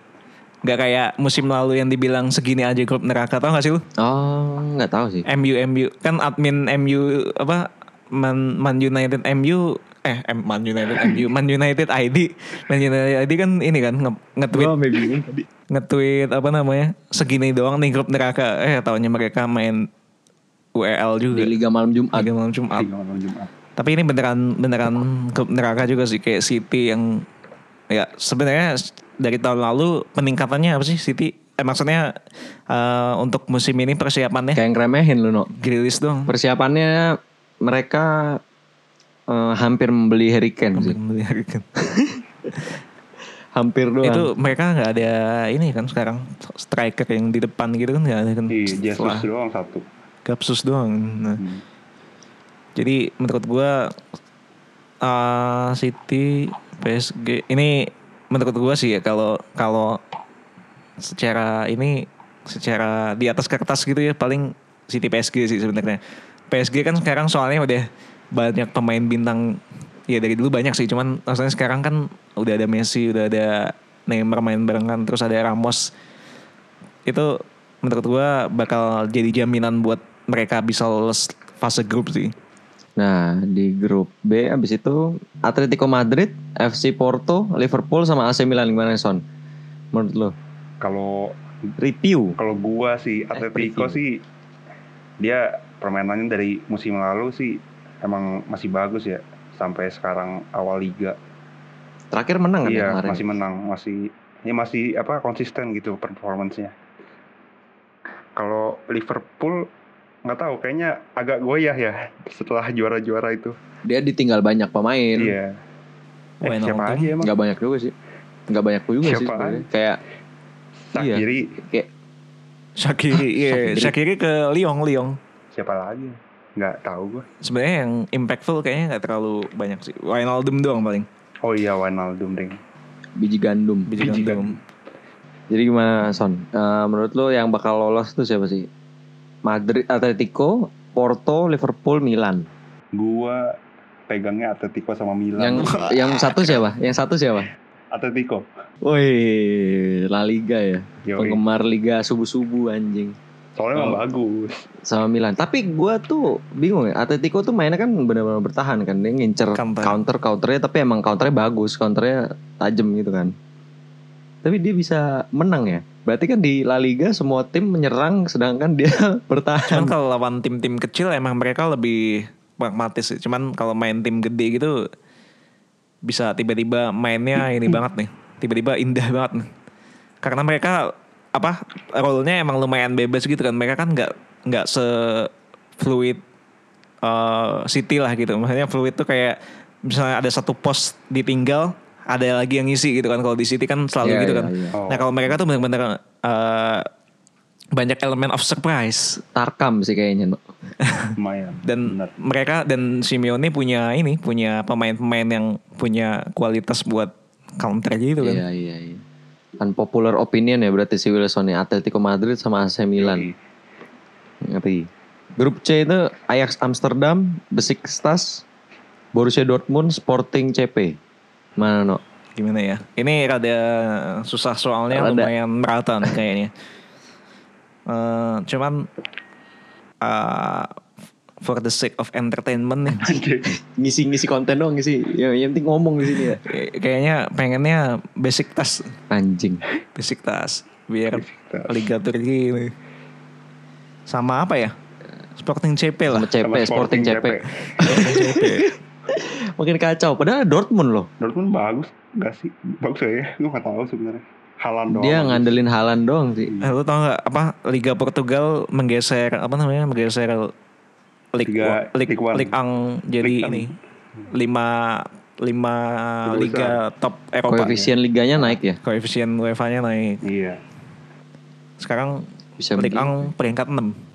S2: Gak kayak musim lalu yang dibilang segini aja grup neraka. Tau gak sih lu?
S1: oh nggak tahu sih
S2: MU MU kan admin MU apa Man, Man United MU eh M- Man United MU Man United ID Man United ID kan ini kan nge- nge-tweet
S1: Oh, maybe
S2: nge-tweet apa namanya segini doang nih grup neraka eh tahunya mereka main UEL
S1: di
S2: juga
S1: Liga Malam Jumat
S2: Liga malam Jumat
S3: Tiga malam Jumat.
S2: tapi ini beneran beneran grup neraka juga sih kayak City yang ya sebenarnya dari tahun lalu peningkatannya apa sih City eh, maksudnya eh, untuk musim ini persiapannya
S1: kayak yang ngeremehin lu No
S2: Grilis dong
S1: persiapannya mereka eh, hampir membeli Harry Kane
S2: Iya.
S1: sih hampir doang
S2: itu mereka nggak ada ini kan sekarang striker yang di depan gitu kan nggak ada kan
S3: Iya, Jesus
S2: Setelah
S3: doang satu.
S2: Gapsus doang Nah,
S3: Hmm.
S2: jadi menurut gua eh, City PSG ini menurut gua sih ya kalau kalau secara ini secara di atas kertas gitu ya paling City PSG sih sebenarnya PSG kan sekarang soalnya udah banyak pemain bintang ya dari dulu banyak sih cuman maksudnya sekarang kan udah ada Messi udah ada Neymar main barengan terus ada Ramos itu menurut gua bakal jadi jaminan buat mereka bisa lolos fase grup sih
S1: Nah, di grup B abis itu Atletico Madrid, FC Porto, Liverpool sama AC Milan gimana Son? Menurut lo?
S3: Kalau
S1: Review.
S3: kalau gua sih Atletico
S1: Everything.
S3: sih dia permainannya dari musim lalu sih emang masih bagus ya. sampai sekarang awal liga.
S1: Terakhir menang kan ya
S3: Iya,
S1: kemarin?
S3: masih menang, masih ya masih apa konsisten gitu performancenya. Kalau Liverpool nggak tahu kayaknya agak goyah ya setelah juara-juara itu.
S1: Dia ditinggal banyak pemain.
S3: Iya. Eh,
S2: Wayne
S3: siapa
S2: Rooney.
S3: aja emang?
S1: Nggak banyak juga sih. Nggak banyak juga sih.
S3: Siapaan?
S1: sebenarnya. Kayak iya.
S3: Sakiri,
S1: kayak
S2: Shakiri, iya.
S1: Shaqiri.
S2: Shaqiri ke Lyon, Lyon.
S3: siapa lagi? Nggak tahu gue.
S2: Sebenarnya yang impactful kayaknya nggak terlalu banyak sih. Wijnaldum doang paling.
S3: Oh iya Wijnaldum ding.
S1: biji gandum.
S2: Biji
S3: Biji
S2: gandum.
S1: Jadi gimana Son? Eh, menurut lo yang bakal lolos tuh siapa sih? Madrid, Atletico, Porto, Liverpool, Milan.
S3: Gua pegangnya Atletico sama Milan.
S1: Yang yang satu siapa? Yang satu siapa?
S3: Atletico.
S1: Woi, La Liga ya.
S3: Yoi.
S1: Penggemar Liga subuh-subuh anjing.
S3: Soalnya emang
S1: Oh.
S3: bagus.
S1: sama Milan. Tapi gue tuh bingung ya. Atletico tuh mainnya kan benar-benar bertahan kan. Dia ngincer counter.
S2: Counter.
S1: counter counternya tapi emang counternya bagus, counternya tajam gitu kan. Tapi dia bisa menang ya. Berarti kan di La Liga semua tim menyerang sedangkan dia
S2: Cuman
S1: bertahan.
S2: kalau lawan tim-tim kecil emang mereka lebih pragmatis sih. Cuman kalau main tim gede gitu bisa tiba-tiba mainnya
S1: Hmm.
S2: ini banget nih. Tiba-tiba indah banget nih. Karena mereka apa role-nya emang lumayan bebas gitu kan. Mereka kan nggak nggak se fluid eh, City lah gitu. Maksudnya fluid tuh kayak misalnya ada satu pos ditinggal, ada lagi yang ngisi gitu kan. Kalau di City kan selalu
S1: Iya,
S2: gitu
S1: iya,
S2: kan.
S1: iya.
S3: Oh.
S2: Nah, kalau mereka tuh benar-benar eh, banyak elemen of surprise
S1: Tarkam sih kayaknya. no.
S3: Lumayan.
S2: dan
S3: Bener.
S2: mereka dan Simeone punya ini punya pemain-pemain yang punya kualitas buat counter gitu kan.
S1: Iya iya iya. Unpopular opinion ya berarti si Wilson ya. Atletico Madrid sama AC Milan. Ngeri. Grup C itu Ajax Amsterdam, Besiktas, Borussia Dortmund, Sporting CP. Mana no?
S2: Gimana ya? Ini rada susah soalnya
S1: Rada.
S2: lumayan merata nih kayaknya. Eh, cuman eh, for the sake of entertainment nih
S3: Anjir.
S1: ngisi-ngisi konten doang ngisi yang, yang penting ngomong di sini ya
S2: kayaknya pengennya basic tas
S1: anjing
S2: basic tas biar
S3: Besiktas.
S2: Liga Turki ini. Sama apa ya? Sporting CP lah.
S1: sama CP
S3: Sama
S1: Sporting CP makin kacau padahal Dortmund loh
S3: Dortmund bagus gak sih? Bagus gak ya? Gue gak tau sebenarnya. Halan doang.
S1: dia ngandelin Halan doang sih
S2: Eh, lu tau gak apa Liga Portugal menggeser apa namanya menggeser Liga Wa-
S3: Liga-
S2: Lig-
S3: Ligue One.
S2: Ligue Ang jadi
S3: Ligue Ang.
S2: ini lima lima
S3: Liga
S2: liga top Eropa
S1: koefisien liganya naik ya
S2: koefisien UEFA-nya naik
S3: Iya.
S2: sekarang
S1: Bisa
S2: Ligue
S1: begitu.
S2: Ang peringkat 6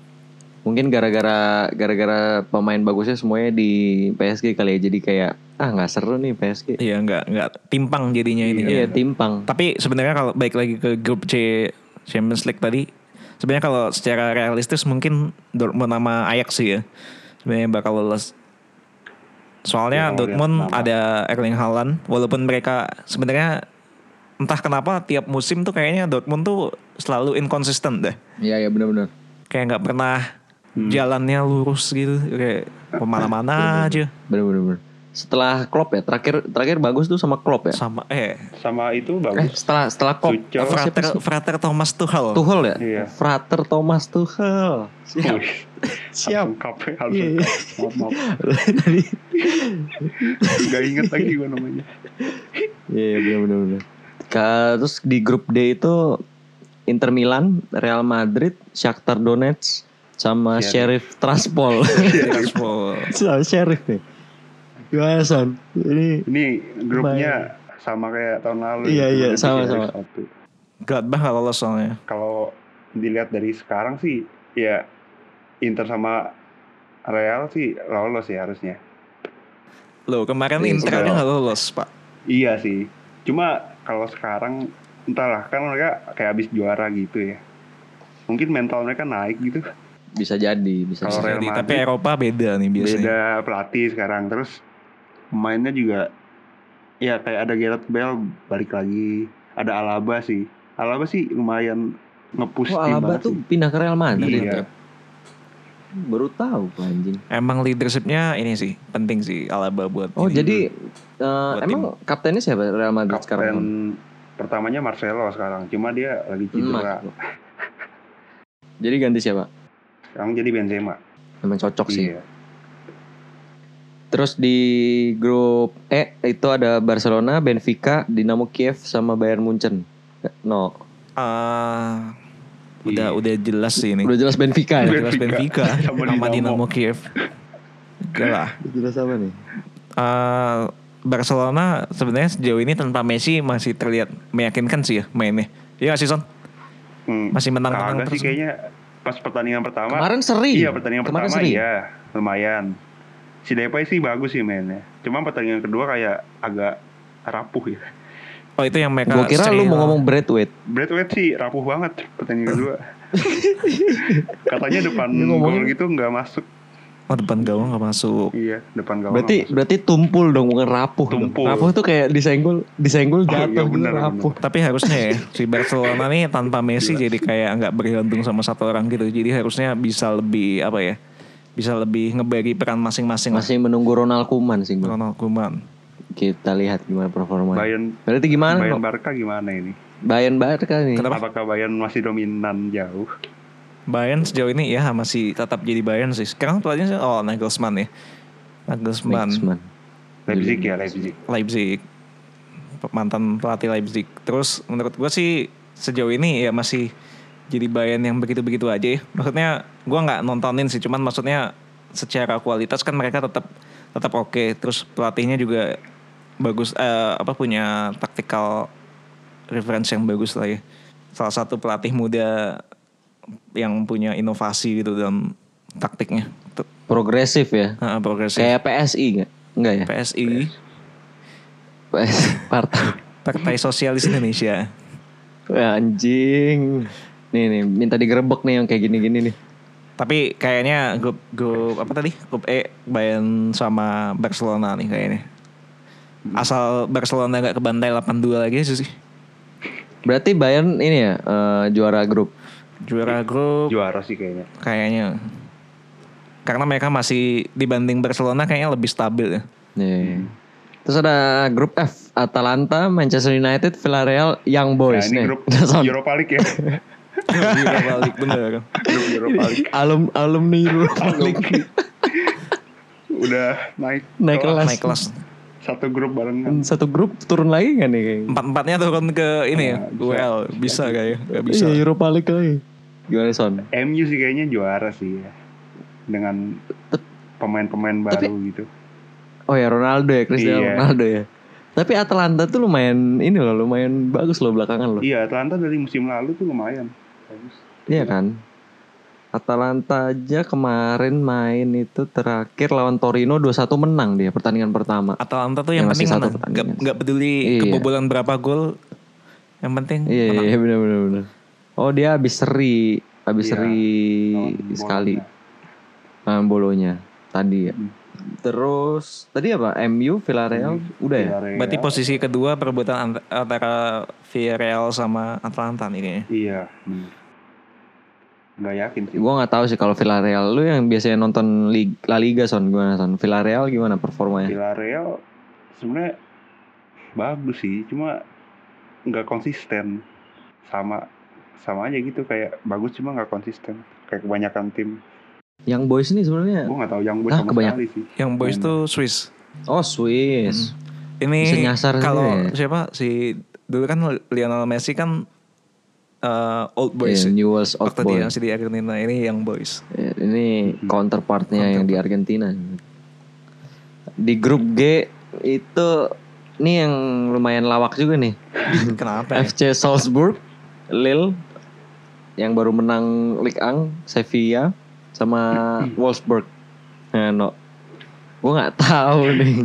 S1: mungkin gara-gara gara-gara pemain bagusnya semuanya di PSG kali ya jadi kayak ah nggak seru nih PSG
S2: iya nggak nggak timpang jadinya ini
S1: iya timpang
S2: tapi sebenarnya kalau baik lagi ke grup C Champions League tadi sebenarnya kalau secara realistis mungkin Dortmund sama Ajax sih ya sebenarnya bakal lolos soalnya
S3: Ya, kalau
S2: Dortmund
S3: lihat nama.
S2: ada Erling Haaland walaupun mereka sebenarnya entah kenapa tiap musim tuh kayaknya Dortmund tuh selalu inconsistent deh
S1: iya iya benar-benar
S2: kayak nggak pernah
S3: Hmm.
S2: jalannya lurus gitu kayak
S3: Iya,
S2: kemana-mana aja
S1: benar-benar setelah Klopp ya terakhir terakhir bagus tuh sama Klopp ya
S2: sama eh
S3: Sama itu
S1: eh
S3: bagus.
S1: setelah setelah Klopp
S3: Sucel.
S1: apa siapa
S2: Frater,
S1: sih?
S2: Frater Thomas Tuchel
S1: Tuchel ya
S3: Iya.
S1: Frater Thomas Tuchel siap
S3: Wih,
S1: siap
S3: Lengkap ya. harus
S1: Iya.
S3: lengkap. Maaf, maaf.
S1: tadi
S3: Gak inget lagi gue namanya.
S1: iya benar benar benar Ka- terus di grup D itu Inter Milan Real Madrid Shakhtar Donetsk sama Sheriff Iya. Transpol
S2: Tiraspol.
S1: sama Sheriff nih gimana son ini
S3: Ini grupnya sama kayak tahun lalu.
S1: Iya,
S3: gitu.
S1: iya,
S3: Nanti
S1: sama,
S3: kita
S1: sama.
S3: ada satu.
S2: Gladbach gak lolos soalnya
S3: Kalau dilihat dari sekarang sih, ya Inter sama Real sih lolos ya harusnya.
S2: Loh kemarin
S1: Iya,
S2: Inter aja
S1: sekarang.
S2: gak lolos pak
S3: Iya sih. Cuma kalau sekarang entahlah kan mereka kayak habis juara gitu ya. Mungkin mental mereka naik gitu.
S1: bisa jadi bisa
S3: Kalau
S1: jadi.
S3: Real
S2: Jadi, Tapi
S3: Madrid-
S2: Eropa beda nih biasanya
S3: Beda pelatih sekarang terus pemainnya juga ya kayak ada Gareth Bale balik lagi, ada Alaba sih. Alaba sih lumayan ngepush
S1: Oh,
S3: tim
S1: Alaba
S3: banget
S1: tuh
S3: sih.
S1: pindah ke Real Madrid ya?
S3: Iya.
S1: baru tahu gua, anjing
S2: Emang leadershipnya ini sih Penting sih Alaba buat
S1: oh
S2: ini.
S1: jadi eh,
S2: Buat
S1: emang kaptennya siapa Real Madrid sekarang
S3: Kapten pertamanya Marcelo sekarang, cuma dia lagi
S1: Hmm,
S3: cedera.
S1: masuk. jadi ganti siapa
S3: Sekarang jadi Benzema.
S1: Iya. emang cocok sih
S3: Iya.
S1: Terus di grup E itu ada Barcelona, Benfica, Dinamo Kiev sama Bayern Munchen. No,
S2: Ah, udah udah jelas sih ini.
S1: Iya. udah jelas Benfica
S2: Udah
S1: ya.
S2: jelas
S3: Benfica.
S2: Benfica
S3: Sama
S2: sama
S3: Dinamo.
S2: Dinamo Kiev. Udah lah.
S1: Udah jelas apa nih?
S2: Eh, Barcelona sebenarnya sejauh ini tanpa Messi masih terlihat meyakinkan sih ya mainnya. Iya gak sih Son?
S3: Hmm,
S2: Masih menang-menang
S3: kagak sih
S2: terus.
S3: kayaknya pas pertandingan pertama.
S1: Kemarin seri.
S3: Iya pertandingan
S1: Kemarin
S3: pertama
S1: seri.
S3: iya lumayan. Si Depay sih bagus sih mainnya. Cuma pertandingan kedua kayak agak rapuh ya.
S2: Oh itu yang mereka
S1: Gue kira lu
S2: seri
S1: mau
S2: lawan-
S1: ngomong Braithwaite.
S3: Bradway sih rapuh banget pertandingan kedua. Katanya depan
S1: Dia ngomongin-
S3: gol gitu nggak masuk.
S2: Oh depan gawang gak masuk.
S3: Iya depan gawang.
S1: Berarti
S3: nggak masuk.
S1: berarti tumpul dong bukan rapuh. dong.
S3: Tumpul.
S1: Rapuh tuh kayak disenggol, disenggol
S3: Oh, iya,
S1: jatuh gitu,
S3: benar, benar.
S1: rapuh.
S2: Tapi harusnya ya si Barcelona nih tanpa Messi jadi kayak nggak bergantung sama satu orang gitu. Jadi harusnya bisa lebih apa ya? Bisa lebih ngebagi peran masing-masing lah.
S1: Masih menunggu Ronald Koeman sih gua.
S2: Ronald Koeman.
S1: Kita lihat gimana performanya.
S3: Bayern
S1: Berarti gimana? Bayern,
S3: Bayern Barca gimana ini?
S1: Bayern Barca nih.
S2: Kenapa?
S3: Apakah Bayern masih dominan jauh?
S2: Bayern sejauh ini ya masih tetap jadi Bayern sih. Sekarang pelatihnya oh Nagelsmann ya. Nagelsmann,
S1: Nagelsmann. Iya,
S3: Leipzig ya Leipzig.
S2: Leipzig. Mantan pelatih Leipzig. Terus menurut gua sih sejauh ini ya masih jadi Bayern yang begitu-begitu aja ya. Maksudnya gua nggak nontonin sih, cuman maksudnya secara kualitas kan mereka tetap tetap oke. Terus pelatihnya juga bagus eh, apa punya taktikal reference yang bagus lah ya. Salah satu pelatih muda yang punya inovasi gitu dalam taktiknya. Tuh,
S1: Progresif ya.
S2: eh, progresif.
S1: Kayak PSI enggak? Enggak ya?
S2: PSI,
S1: PS Partai.
S2: Partai Sosialis Indonesia.
S1: Wah, anjing. Nih nih, minta digerebek nih yang kayak gini-gini nih.
S2: Tapi kayaknya grup grup apa tadi? Grup E Bayern sama Barcelona nih kayaknya. Asal Barcelona nggak ke bantai 8-2 lagi aja sih.
S1: Berarti Bayern ini ya eh, juara grup.
S2: Juara grup
S3: Juara sih kayaknya.
S2: kayaknya. Karena mereka masih dibanding Barcelona kayaknya lebih stabil ya.
S1: Nih.
S3: Hmm.
S1: Terus ada grup F, Atalanta, Manchester United, Villarreal, Young
S3: Nah,
S1: Boys
S3: ini
S1: nih.
S3: grup
S1: Sound-
S3: Europa League ya.
S2: Gila balik bener.
S3: grup Europa League.
S1: Alum alumni Europa League.
S3: Udah naik
S1: Naik kelas.
S2: Naik kelas.
S3: satu grup barengan.
S1: Satu grup turun lagi kan nih kayaknya.
S2: Empat-empatnya turun ke ini ya.
S3: Nah, bisa.
S2: UL. Bisa kayaknya. Nggak bisa.
S1: Iya, Europa League lagi. Gimana Son?
S3: MU sih kayaknya juara sih ya. Dengan pemain-pemain baru gitu.
S1: Oh ya Ronaldo ya, Cristiano
S3: Iya.
S1: Ronaldo ya. Tapi Atalanta tuh lumayan ini loh, lumayan bagus loh belakangan loh.
S3: Iya, Atlanta dari musim lalu tuh lumayan. Bagus.
S1: Iya kan? Atalanta aja kemarin main itu terakhir lawan Torino 2-1 menang dia pertandingan pertama.
S2: Atalanta tuh
S1: Ya,
S2: yang
S1: masih
S2: penting
S1: satu
S2: menang. Gak,
S1: pertandingan.
S2: gak peduli
S1: Iya.
S2: kebobolan berapa gol. Yang penting
S1: Iya
S2: menang.
S1: iya benar benar benar. Oh dia habis seri, habis
S3: Iya,
S1: seri
S3: Lawan Bologna.
S1: sekali lawan bolonya tadi ya.
S3: Hmm.
S1: Terus tadi apa? MU Villarreal udah ya?
S3: Villarreal.
S2: Berarti posisi kedua perebutan ant- antara Villarreal sama Atlanta nih kayaknya.
S3: Iya. bener. Nggak yakin sih.
S1: Gue nggak tahu sih kalau Villarreal lu yang biasanya nonton Lig- La Liga son gimana son? Villarreal gimana
S3: Iya.
S1: performanya?
S3: Villarreal sebenarnya bagus sih, cuma nggak konsisten. Sama sama aja gitu kayak bagus cuma nggak konsisten. Kayak kebanyakan tim.
S1: Yang boys ini sebenarnya
S3: Gue nggak tahu yang buat
S1: Nah,
S3: sama
S1: kebanyakan.
S3: sekali sih.
S2: Yang boys
S3: Main.
S2: tuh Swiss.
S1: oh Swiss. Hmm. Bisa
S2: Ini
S1: nyasar
S2: kalau
S1: sendiri ya.
S2: siapa si dulu kan Lionel Messi kan eh, old boys.
S1: Yeah,
S2: ya.
S1: Newell's Iya, Old
S2: Waktu
S1: Boys.
S2: dia masih di Argentina ini yang boys.
S1: Ya, Ini
S2: Hmm.
S1: counterpartnya yang di Argentina. Di grup G itu ini yang lumayan lawak juga nih.
S2: Kenapa? ya?
S1: FC Salzburg, Lille yang baru menang Ligue 1, Sevilla sama Wolfsburg. Nah, no. Gue nggak tahu nih.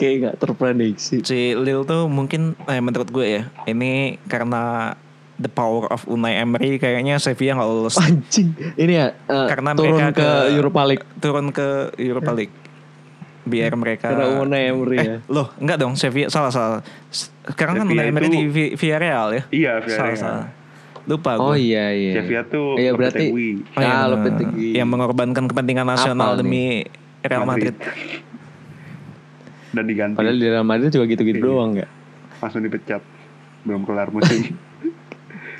S1: Kayak nggak terprediksi.
S2: Si Lil tuh mungkin eh, menurut gue ya ini karena the power of Unai Emery kayaknya Sevilla nggak lolos
S1: Anjing. Ini ya eh,
S2: Karena
S1: turun
S2: mereka
S1: ke,
S2: ke-
S1: Europa League
S2: turun ke Europa League biar mereka
S1: Iya. karena Unai Emery ya.
S2: Eh, Loh, enggak dong, Sevilla salah salah. Sekarang kan Unai
S3: Sevilla
S2: Emery
S3: itu-
S2: di Vi- Villarreal ya.
S3: Iya,
S2: Salah
S3: Villarreal.
S2: salah. Lupa
S1: Oh
S2: gue.
S1: iya iya.
S3: Sevilla tuh
S1: Iya berarti.
S3: Lopetegui.
S2: Oh, iya,
S1: Ah,
S2: bener.
S1: Lopetegui.
S2: Yang mengorbankan kepentingan nasional
S1: Apal
S2: demi Real Madrid.
S3: Dan diganti.
S1: Padahal di Real Madrid juga gitu-gitu
S3: Iya.
S1: doang nggak?
S3: Langsung dipecat. Belum kelar musim.
S1: Iya,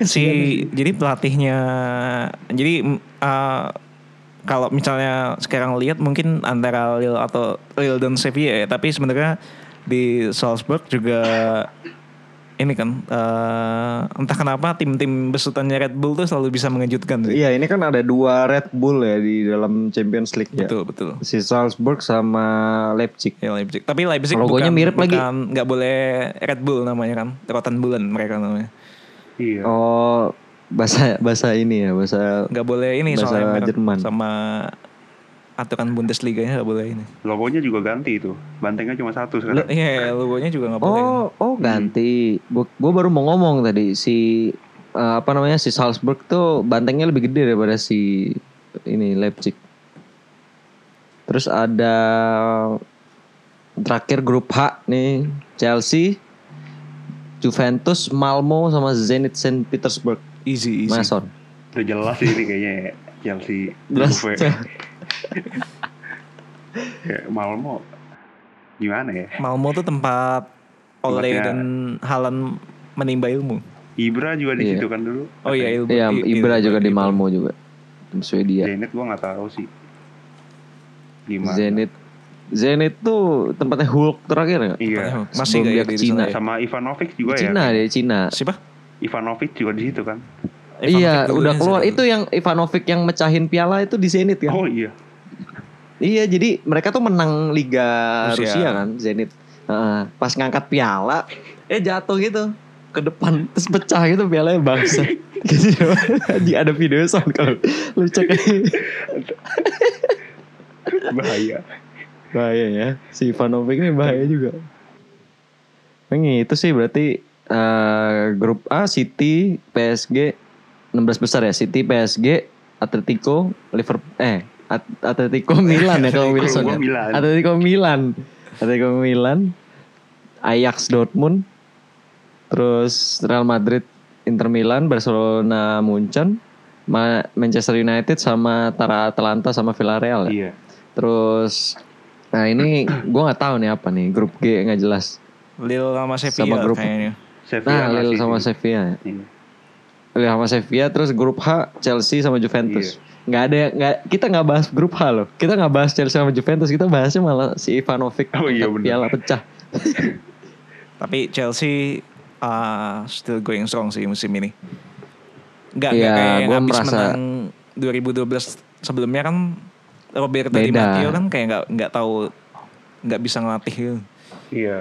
S2: Si jadi pelatihnya jadi mm, uh, kalau misalnya sekarang lihat mungkin antara Lille atau Lille dan Sevilla ya, tapi sebenarnya di Salzburg juga ini kan eh, entah kenapa tim-tim besutannya Red Bull tuh selalu bisa mengejutkan sih.
S1: Iya, ini kan ada dua Red Bull ya di dalam Champions League
S3: Iya.
S1: ya.
S2: Betul, betul.
S1: Si Salzburg sama Leipzig.
S2: Ya Leipzig. Tapi Leipzig
S1: Logonya
S2: bukan,
S1: mirip lagi.
S2: bukan, Gak boleh Red Bull namanya kan. Rotan bulan mereka namanya.
S3: Iya.
S1: Oh, bahasa bahasa ini ya, bahasa
S2: Gak boleh ini
S1: Bahasa
S2: soalnya merek
S1: Jerman.
S2: sama aturan Bundesliga-nya gak boleh ini.
S3: Logonya juga ganti itu. Bantengnya cuma
S2: Lu-
S3: satu sekarang.
S2: Iya, logonya juga gak boleh.
S1: Oh, oh ganti. Gue baru mau ngomong tadi si eh, apa namanya si Salzburg tuh bantengnya lebih gede daripada si ini Leipzig. Terus ada terakhir grup H nih Chelsea, Juventus, Malmo sama Zenit Saint Petersburg.
S2: Easy, easy.
S1: Mason.
S3: Udah jelas sih ini kayaknya ya. Chelsea.
S1: Jelas.
S3: Juve. ya, Malmo gimana ya?
S2: Malmo tuh tempat Ole
S3: Tempatnya-
S2: dan Halan menimba ilmu.
S3: Ibra juga di
S1: Iya.
S3: situ kan dulu.
S2: Oh iya, ilmu.
S1: Iya,
S2: i-
S1: Ibra
S2: ilmu- gitu.
S1: juga di
S2: ilmu.
S1: Malmo juga. Tim Swedia.
S3: Zenit gua nggak tahu sih. Gimana?
S1: Zenit. Zenit tuh tempatnya Hulk terakhir ya?
S3: Iya.
S1: Sebelum
S2: Masih gak ya
S1: dia ke
S2: di sana
S1: Cina.
S2: ya?
S3: Sama Ivanovic juga
S1: Cina
S3: ya.
S1: dia Cina.
S2: Siapa?
S3: Ivanovic juga di situ kan.
S2: Ivanovic
S1: Iya,
S2: dulunya
S1: udah
S2: sih.
S1: keluar. Itu yang Ivanovic yang mecahin piala itu di Zenit kan?
S3: Oh iya.
S1: Iya, jadi mereka tuh menang Liga
S2: Rusia.
S1: Rusia, kan, Zenit. Heeh, pas ngangkat piala, eh jatuh gitu ke depan terus pecah gitu pialanya bangsa. Gitu. Anjing, ada video sound kalau lu cek Iya.
S3: Bahaya.
S1: bahaya ya. Si Ivanovic ini bahaya juga. Ini itu sih berarti eh, grup A City, PSG 16 besar ya. City, PSG, Atletico, Liverpool eh At- Atletico Milan ya kalau Wilson ya.
S3: Gua Milan.
S1: Atletico Milan. Atletico Milan. Ajax Dortmund. Terus Real Madrid, Inter Milan, Barcelona, Munchen, Ma- Manchester United sama Tara Atalanta sama Villarreal. ya.
S3: Iya.
S1: Terus nah ini gua nggak tahu nih apa nih grup G nggak jelas.
S2: Lille sama Sevilla
S1: Sama grup.
S2: kayaknya.
S3: Sevilla
S1: Nah, Lille
S3: masih
S1: sama
S3: di-
S1: Sevilla. ya.
S3: Iya.
S1: Lille sama Sevilla terus grup H Chelsea sama Juventus.
S3: Iya.
S1: Nggak ada nggak kita nggak bahas grup H loh. Kita nggak bahas Chelsea sama Juventus, kita bahasnya malah si Ivanovic
S3: Oh, iya,
S1: angkat
S3: bener.
S1: piala pecah.
S2: Tapi Chelsea uh, still going strong sih musim ini. Gak,
S1: Iya,
S2: gak kayak yang
S1: gua
S2: habis
S1: merasa-
S2: menang 2012 sebelumnya kan Roberto Di
S1: Beda.
S2: Matteo kan kayak nggak nggak tahu nggak bisa ngelatih gitu.
S3: Iya.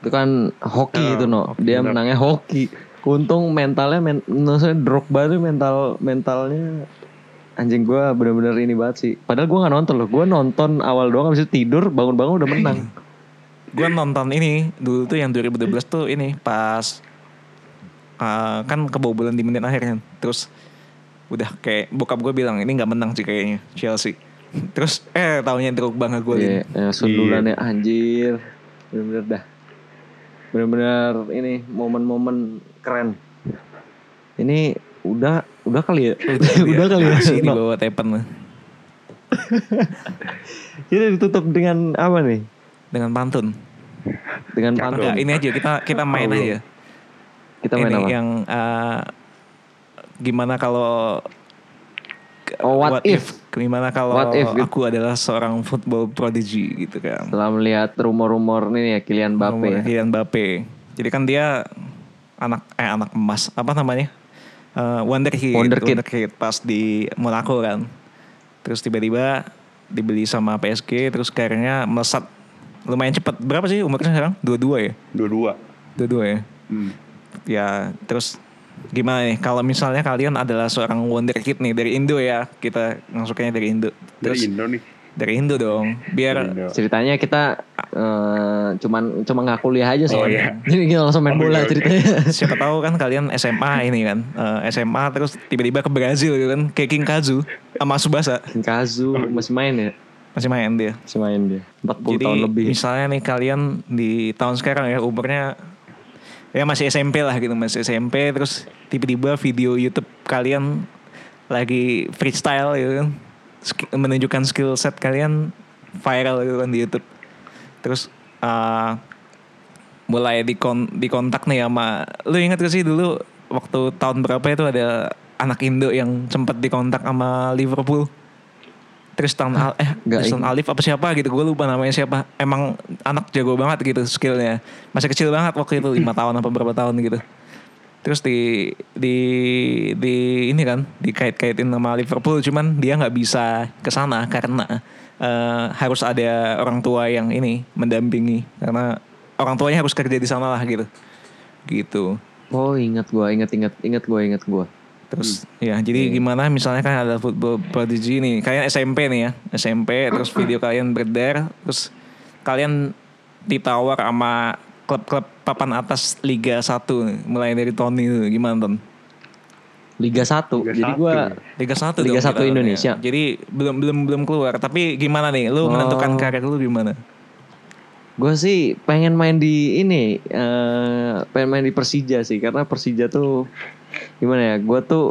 S1: Itu kan hoki
S3: Oh,
S1: itu no. Dia
S3: bener.
S1: menangnya hoki. Untung mentalnya men, maksudnya Drogba tuh mental mentalnya anjing gua bener-bener ini banget sih. Padahal gua nggak nonton loh. Gua nonton awal doang habis itu tidur, bangun-bangun udah menang.
S2: Gue nonton ini dulu tuh yang 2012 tuh ini pas uh, kan kebobolan di menit akhir kan. Terus udah kayak bokap gue bilang ini nggak menang sih kayaknya Chelsea. Terus eh tahunya Drogba nggak
S1: Iya,
S2: golin.
S1: ya, sundulannya anjir. Bener-bener dah. Bener-bener ini momen-momen keren. Ini udah udah kali ya. udah kali ya.
S2: Masih di
S1: No.
S2: bawah tepen
S1: Kita ditutup dengan apa nih?
S2: dengan pantun.
S1: Dengan
S3: Cakep.
S1: pantun.
S2: Enggak, ini aja kita kita main
S1: Oh,
S2: aja.
S1: Kita main
S2: ini
S1: apa?
S2: yang eh, gimana kalau
S1: Oh, what if?
S2: Gimana kalau
S1: What if, gitu.
S2: aku adalah seorang football prodigy gitu kan.
S1: Setelah melihat rumor-rumor ini ya Kylian Mbappe ya.
S2: Kylian Mbappe. Jadi kan dia anak eh anak emas apa namanya? Eh, wonderkid,
S1: Wonderkid.
S2: pas di Monaco kan. Terus tiba-tiba dibeli sama PSG terus karirnya melesat lumayan cepat. Berapa sih umurnya sekarang? 22 ya?
S3: Dua-dua.
S2: 22 ya.
S3: Hmm.
S2: ya terus gimana nih kalau misalnya kalian adalah seorang wonderkid nih dari Indo ya kita masuknya dari Indo
S3: Dari
S2: terus
S3: Indo nih.
S2: dari Indo dong biar
S3: Indo.
S1: Ceritanya kita eh, cuman cuma nggak kuliah aja soalnya. Jadi kita langsung main
S3: Oh,
S1: bola
S3: iya, oke.
S1: ceritanya.
S2: siapa tahu kan kalian SMA ini kan eh, SMA terus tiba-tiba ke Brazil gitu kan kayak King Kazu sama Subasa
S1: Kazu masih main ya?
S2: masih main dia
S1: Masih main dia. 40
S2: jadi
S1: tahun lebih.
S2: misalnya nih kalian di tahun sekarang ya umurnya ya masih SMP lah gitu masih SMP terus tiba-tiba video YouTube kalian lagi freestyle gitu kan sk- menunjukkan skill set kalian viral gitu kan di YouTube terus uh, mulai dikon dikontak nih sama lu ingat gak sih dulu waktu tahun berapa itu ada anak Indo yang sempat dikontak sama Liverpool Tristan Al eh
S1: Nggak
S2: Tristan Alif apa siapa gitu gue lupa namanya siapa emang anak jago banget gitu skillnya masih kecil banget waktu itu lima tahun apa berapa tahun gitu terus di di di ini kan dikait-kaitin sama Liverpool cuman dia nggak bisa ke sana karena eh, harus ada orang tua yang ini mendampingi karena orang tuanya harus kerja di sana lah gitu gitu
S1: Oh ingat gua, ingat ingat ingat gua, ingat gua.
S2: Terus
S1: Hmm.
S2: ya
S1: Iya,
S2: jadi gimana misalnya kan ada football prodigy nih. Kalian SMP nih ya.
S1: Hmm.
S2: SMP terus video kalian beredar. Terus kalian ditawar sama klub-klub papan atas Liga 1 nih, mulai dari tahun itu gimana Ton?
S1: Liga 1.
S3: Liga
S1: Jadi
S3: satu. ya?
S1: gua
S2: Liga 1
S1: Liga
S2: dong,
S1: 1
S2: kita,
S1: Indonesia.
S2: ya. Jadi belum belum belum keluar, tapi gimana nih? Lu
S1: Oh.
S2: menentukan karir lu gimana?
S1: Gue sih pengen main di ini, eh pengen main di Persija sih, karena Persija tuh gimana ya? Gue tuh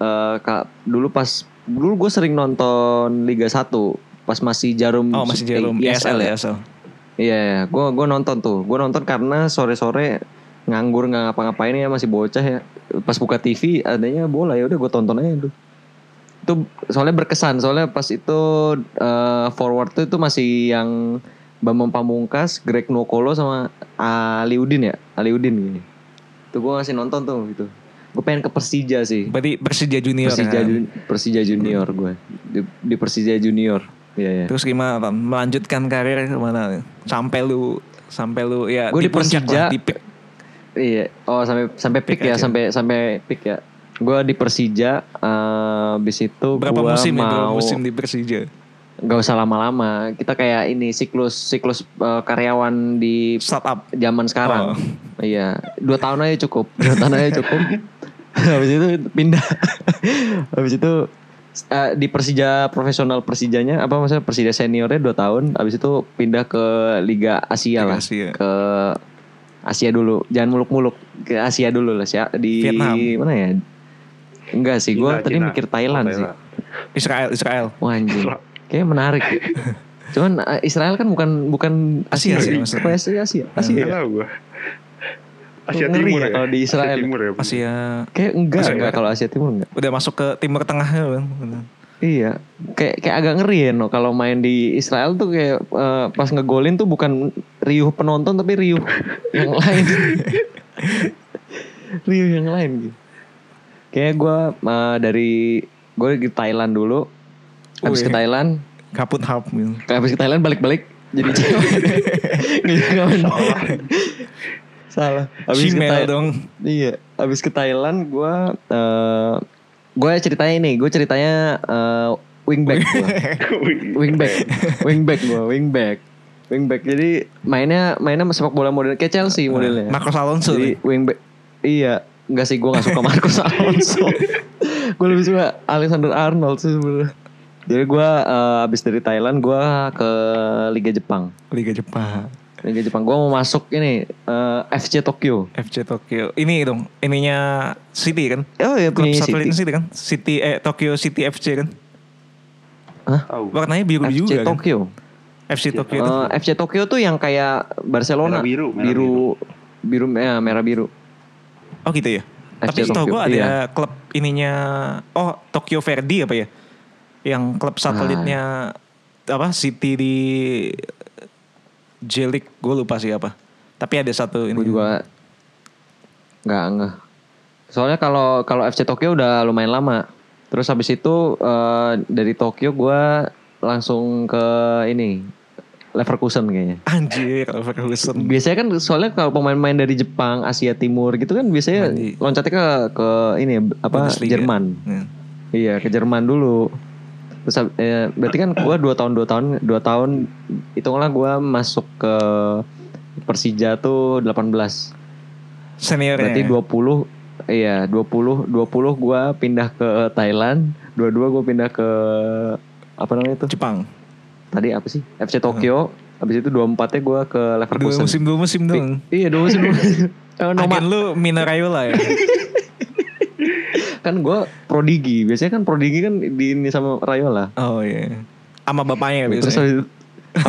S1: eh ka- dulu pas dulu gue sering nonton Liga 1 pas masih jarum
S2: Oh, masih
S1: eh,
S2: jarum ESL ya. ESL.
S1: Iya, gue gue nonton tuh, gue nonton karena sore-sore nganggur nggak ngapa-ngapain ya masih bocah ya. Pas buka TV adanya bola ya udah gue tonton aja tuh. Itu soalnya berkesan, soalnya pas itu eh, forward tuh itu masih yang Bambang Pamungkas, Greg Nokolo sama Ali Udin ya, Ali Udin gini. Tuh gue masih nonton tuh gitu. Gue pengen ke Persija sih.
S2: Berarti Persija
S1: iya.
S2: Junior.
S1: Persija,
S2: kan?
S1: Jun- Persija Junior gue di, di Persija Junior. Iya ya.
S2: Terus gimana Ton? Melanjutkan karir kemana? Sampai lu sampai lu ya
S1: Gua di
S2: puncak
S1: Persija.
S2: lah, di peak.
S1: Iya. Oh sampai sampai
S2: Pick
S1: pick, ya,
S2: aja.
S1: sampai sampai pick ya. Gue di Persija, eh bis itu
S2: Berapa
S1: gua
S2: musim ya?
S1: mau
S2: Berapa musim di Persija?
S1: nggak usah lama-lama. Kita kayak ini siklus siklus eh, karyawan di
S2: Startup.
S1: zaman sekarang.
S2: Oh.
S1: Iya, dua tahun aja cukup, dua tahun aja cukup. Habis itu pindah. Habis itu eh, di Persija profesional Persijanya apa maksudnya Persija seniornya dua tahun. Habis itu pindah ke Liga Asia lah,
S2: Asia.
S1: ke Asia dulu. Jangan muluk-muluk ke Asia dulu lah Sia. di
S2: Vietnam.
S1: mana ya? Enggak sih, gue
S3: Cina,
S1: tadi
S3: Cina.
S1: mikir Thailand
S3: Oh,
S1: sih.
S2: Israel, Israel.
S1: Wah anjing. Kayaknya menarik. Cuman eh, Israel kan bukan bukan
S2: Asia sih, maksudnya. Iya.
S1: Apa Asia Asia. Asia. ya?
S3: Nggak Iya. tahu gua. Asia
S1: Iya. Ngeri
S3: Timur
S1: ya
S3: ya.
S1: kalau di Israel.
S3: Asia Timur ya. bener.
S2: Asia
S1: Kayak enggak, ya?
S2: Asia
S1: enggak
S2: Barat.
S1: kalau Asia Timur enggak.
S2: eh, udah masuk ke Timur Tengah kan.
S1: Iya, kayak kayak agak ngeri ya no kalau main di Israel tuh kayak eh, pas ngegolin tuh bukan riuh penonton tapi riuh yang lain. riuh yang lain gitu. Kayak gue dari gue di Thailand dulu. Habis ke
S2: Wih.
S1: Thailand,
S2: Kaput hap gitu.
S1: habis ke Thailand balik-balik jadi cewek. Nggak- nggak main. Salah. Habis ke
S2: Shimel
S1: Thai-
S2: dong.
S1: Iya, abis ke Thailand gue, eh gue ceritanya ini, gue ceritanya eh, wingback gue,
S3: Wih,
S1: wingback, wingback gue, wingback, wingback. Jadi mainnya mainnya sepak bola model kayak Chelsea modelnya.
S2: Nah, Marcos Alonso
S1: Jadi
S2: nih.
S1: wingback, iya, nggak sih gue nggak suka Marcos Alonso. gue lebih suka Alexander Arnold sih sebenarnya. Jadi gue eh, abis dari Thailand gue ke Liga Jepang.
S2: Liga Jepang.
S1: Liga Jepang gue mau masuk ini eh, FC Tokyo.
S2: FC Tokyo. Ini dong, ininya City kan.
S1: Oh iya
S2: Klub
S1: punya
S2: satelitnya
S1: City.
S2: City kan. City eh Tokyo City FC kan.
S1: Hah?
S3: Tahu.
S2: Warnanya biru
S1: FC
S2: juga kan.
S1: Tokyo.
S2: FC Tokyo itu.
S1: Eh, FC Tokyo tuh yang kayak Barcelona
S3: Merah biru, merah
S1: biru biru, eh, merah biru.
S2: Oh gitu ya.
S1: FC
S2: Tapi tau
S1: Tokyo,
S2: gue ada
S1: iya.
S2: klub ininya oh Tokyo Verdy apa ya? Yang klub satelitnya
S1: Ah.
S2: apa City di Jelik gue lupa sih apa. Tapi ada satu ini.
S1: Gue juga nggak nggak. Soalnya kalau kalau FC Tokyo udah lumayan lama. Terus habis itu eh, dari Tokyo gua langsung ke ini Leverkusen kayaknya.
S2: Anjir, Ferguson.
S1: Biasanya kan soalnya kalau pemain-pemain dari Jepang, Asia Timur gitu kan biasanya
S2: Main di-
S1: loncatnya ke ke ini apa
S2: Bundesliga.
S1: Jerman.
S2: Hmm.
S1: Iya ke Jerman dulu. Terus hab- eh, berarti kan gua dua tahun dua tahun dua tahun hitunglah gua masuk ke Persija tuh 18.
S2: Seniornya.
S1: Berarti 20 iya 20 20 gua pindah ke Thailand, 22 gua pindah ke apa namanya tuh?
S2: Jepang.
S1: Tadi apa sih? FC Tokyo. Habis itu 24-nya gua ke
S2: Dua
S1: Leverkusen.
S2: musim dua musim dong.
S1: Iya, dua musim. dua musim. Eh, Noma-
S2: Agen lu Mina Raiola ya.
S1: kan gua prodigi. Biasanya kan prodigi kan di ini sama Rayola.
S2: oh iya. Sama bapaknya
S1: Terus
S2: biasanya.
S1: habis itu,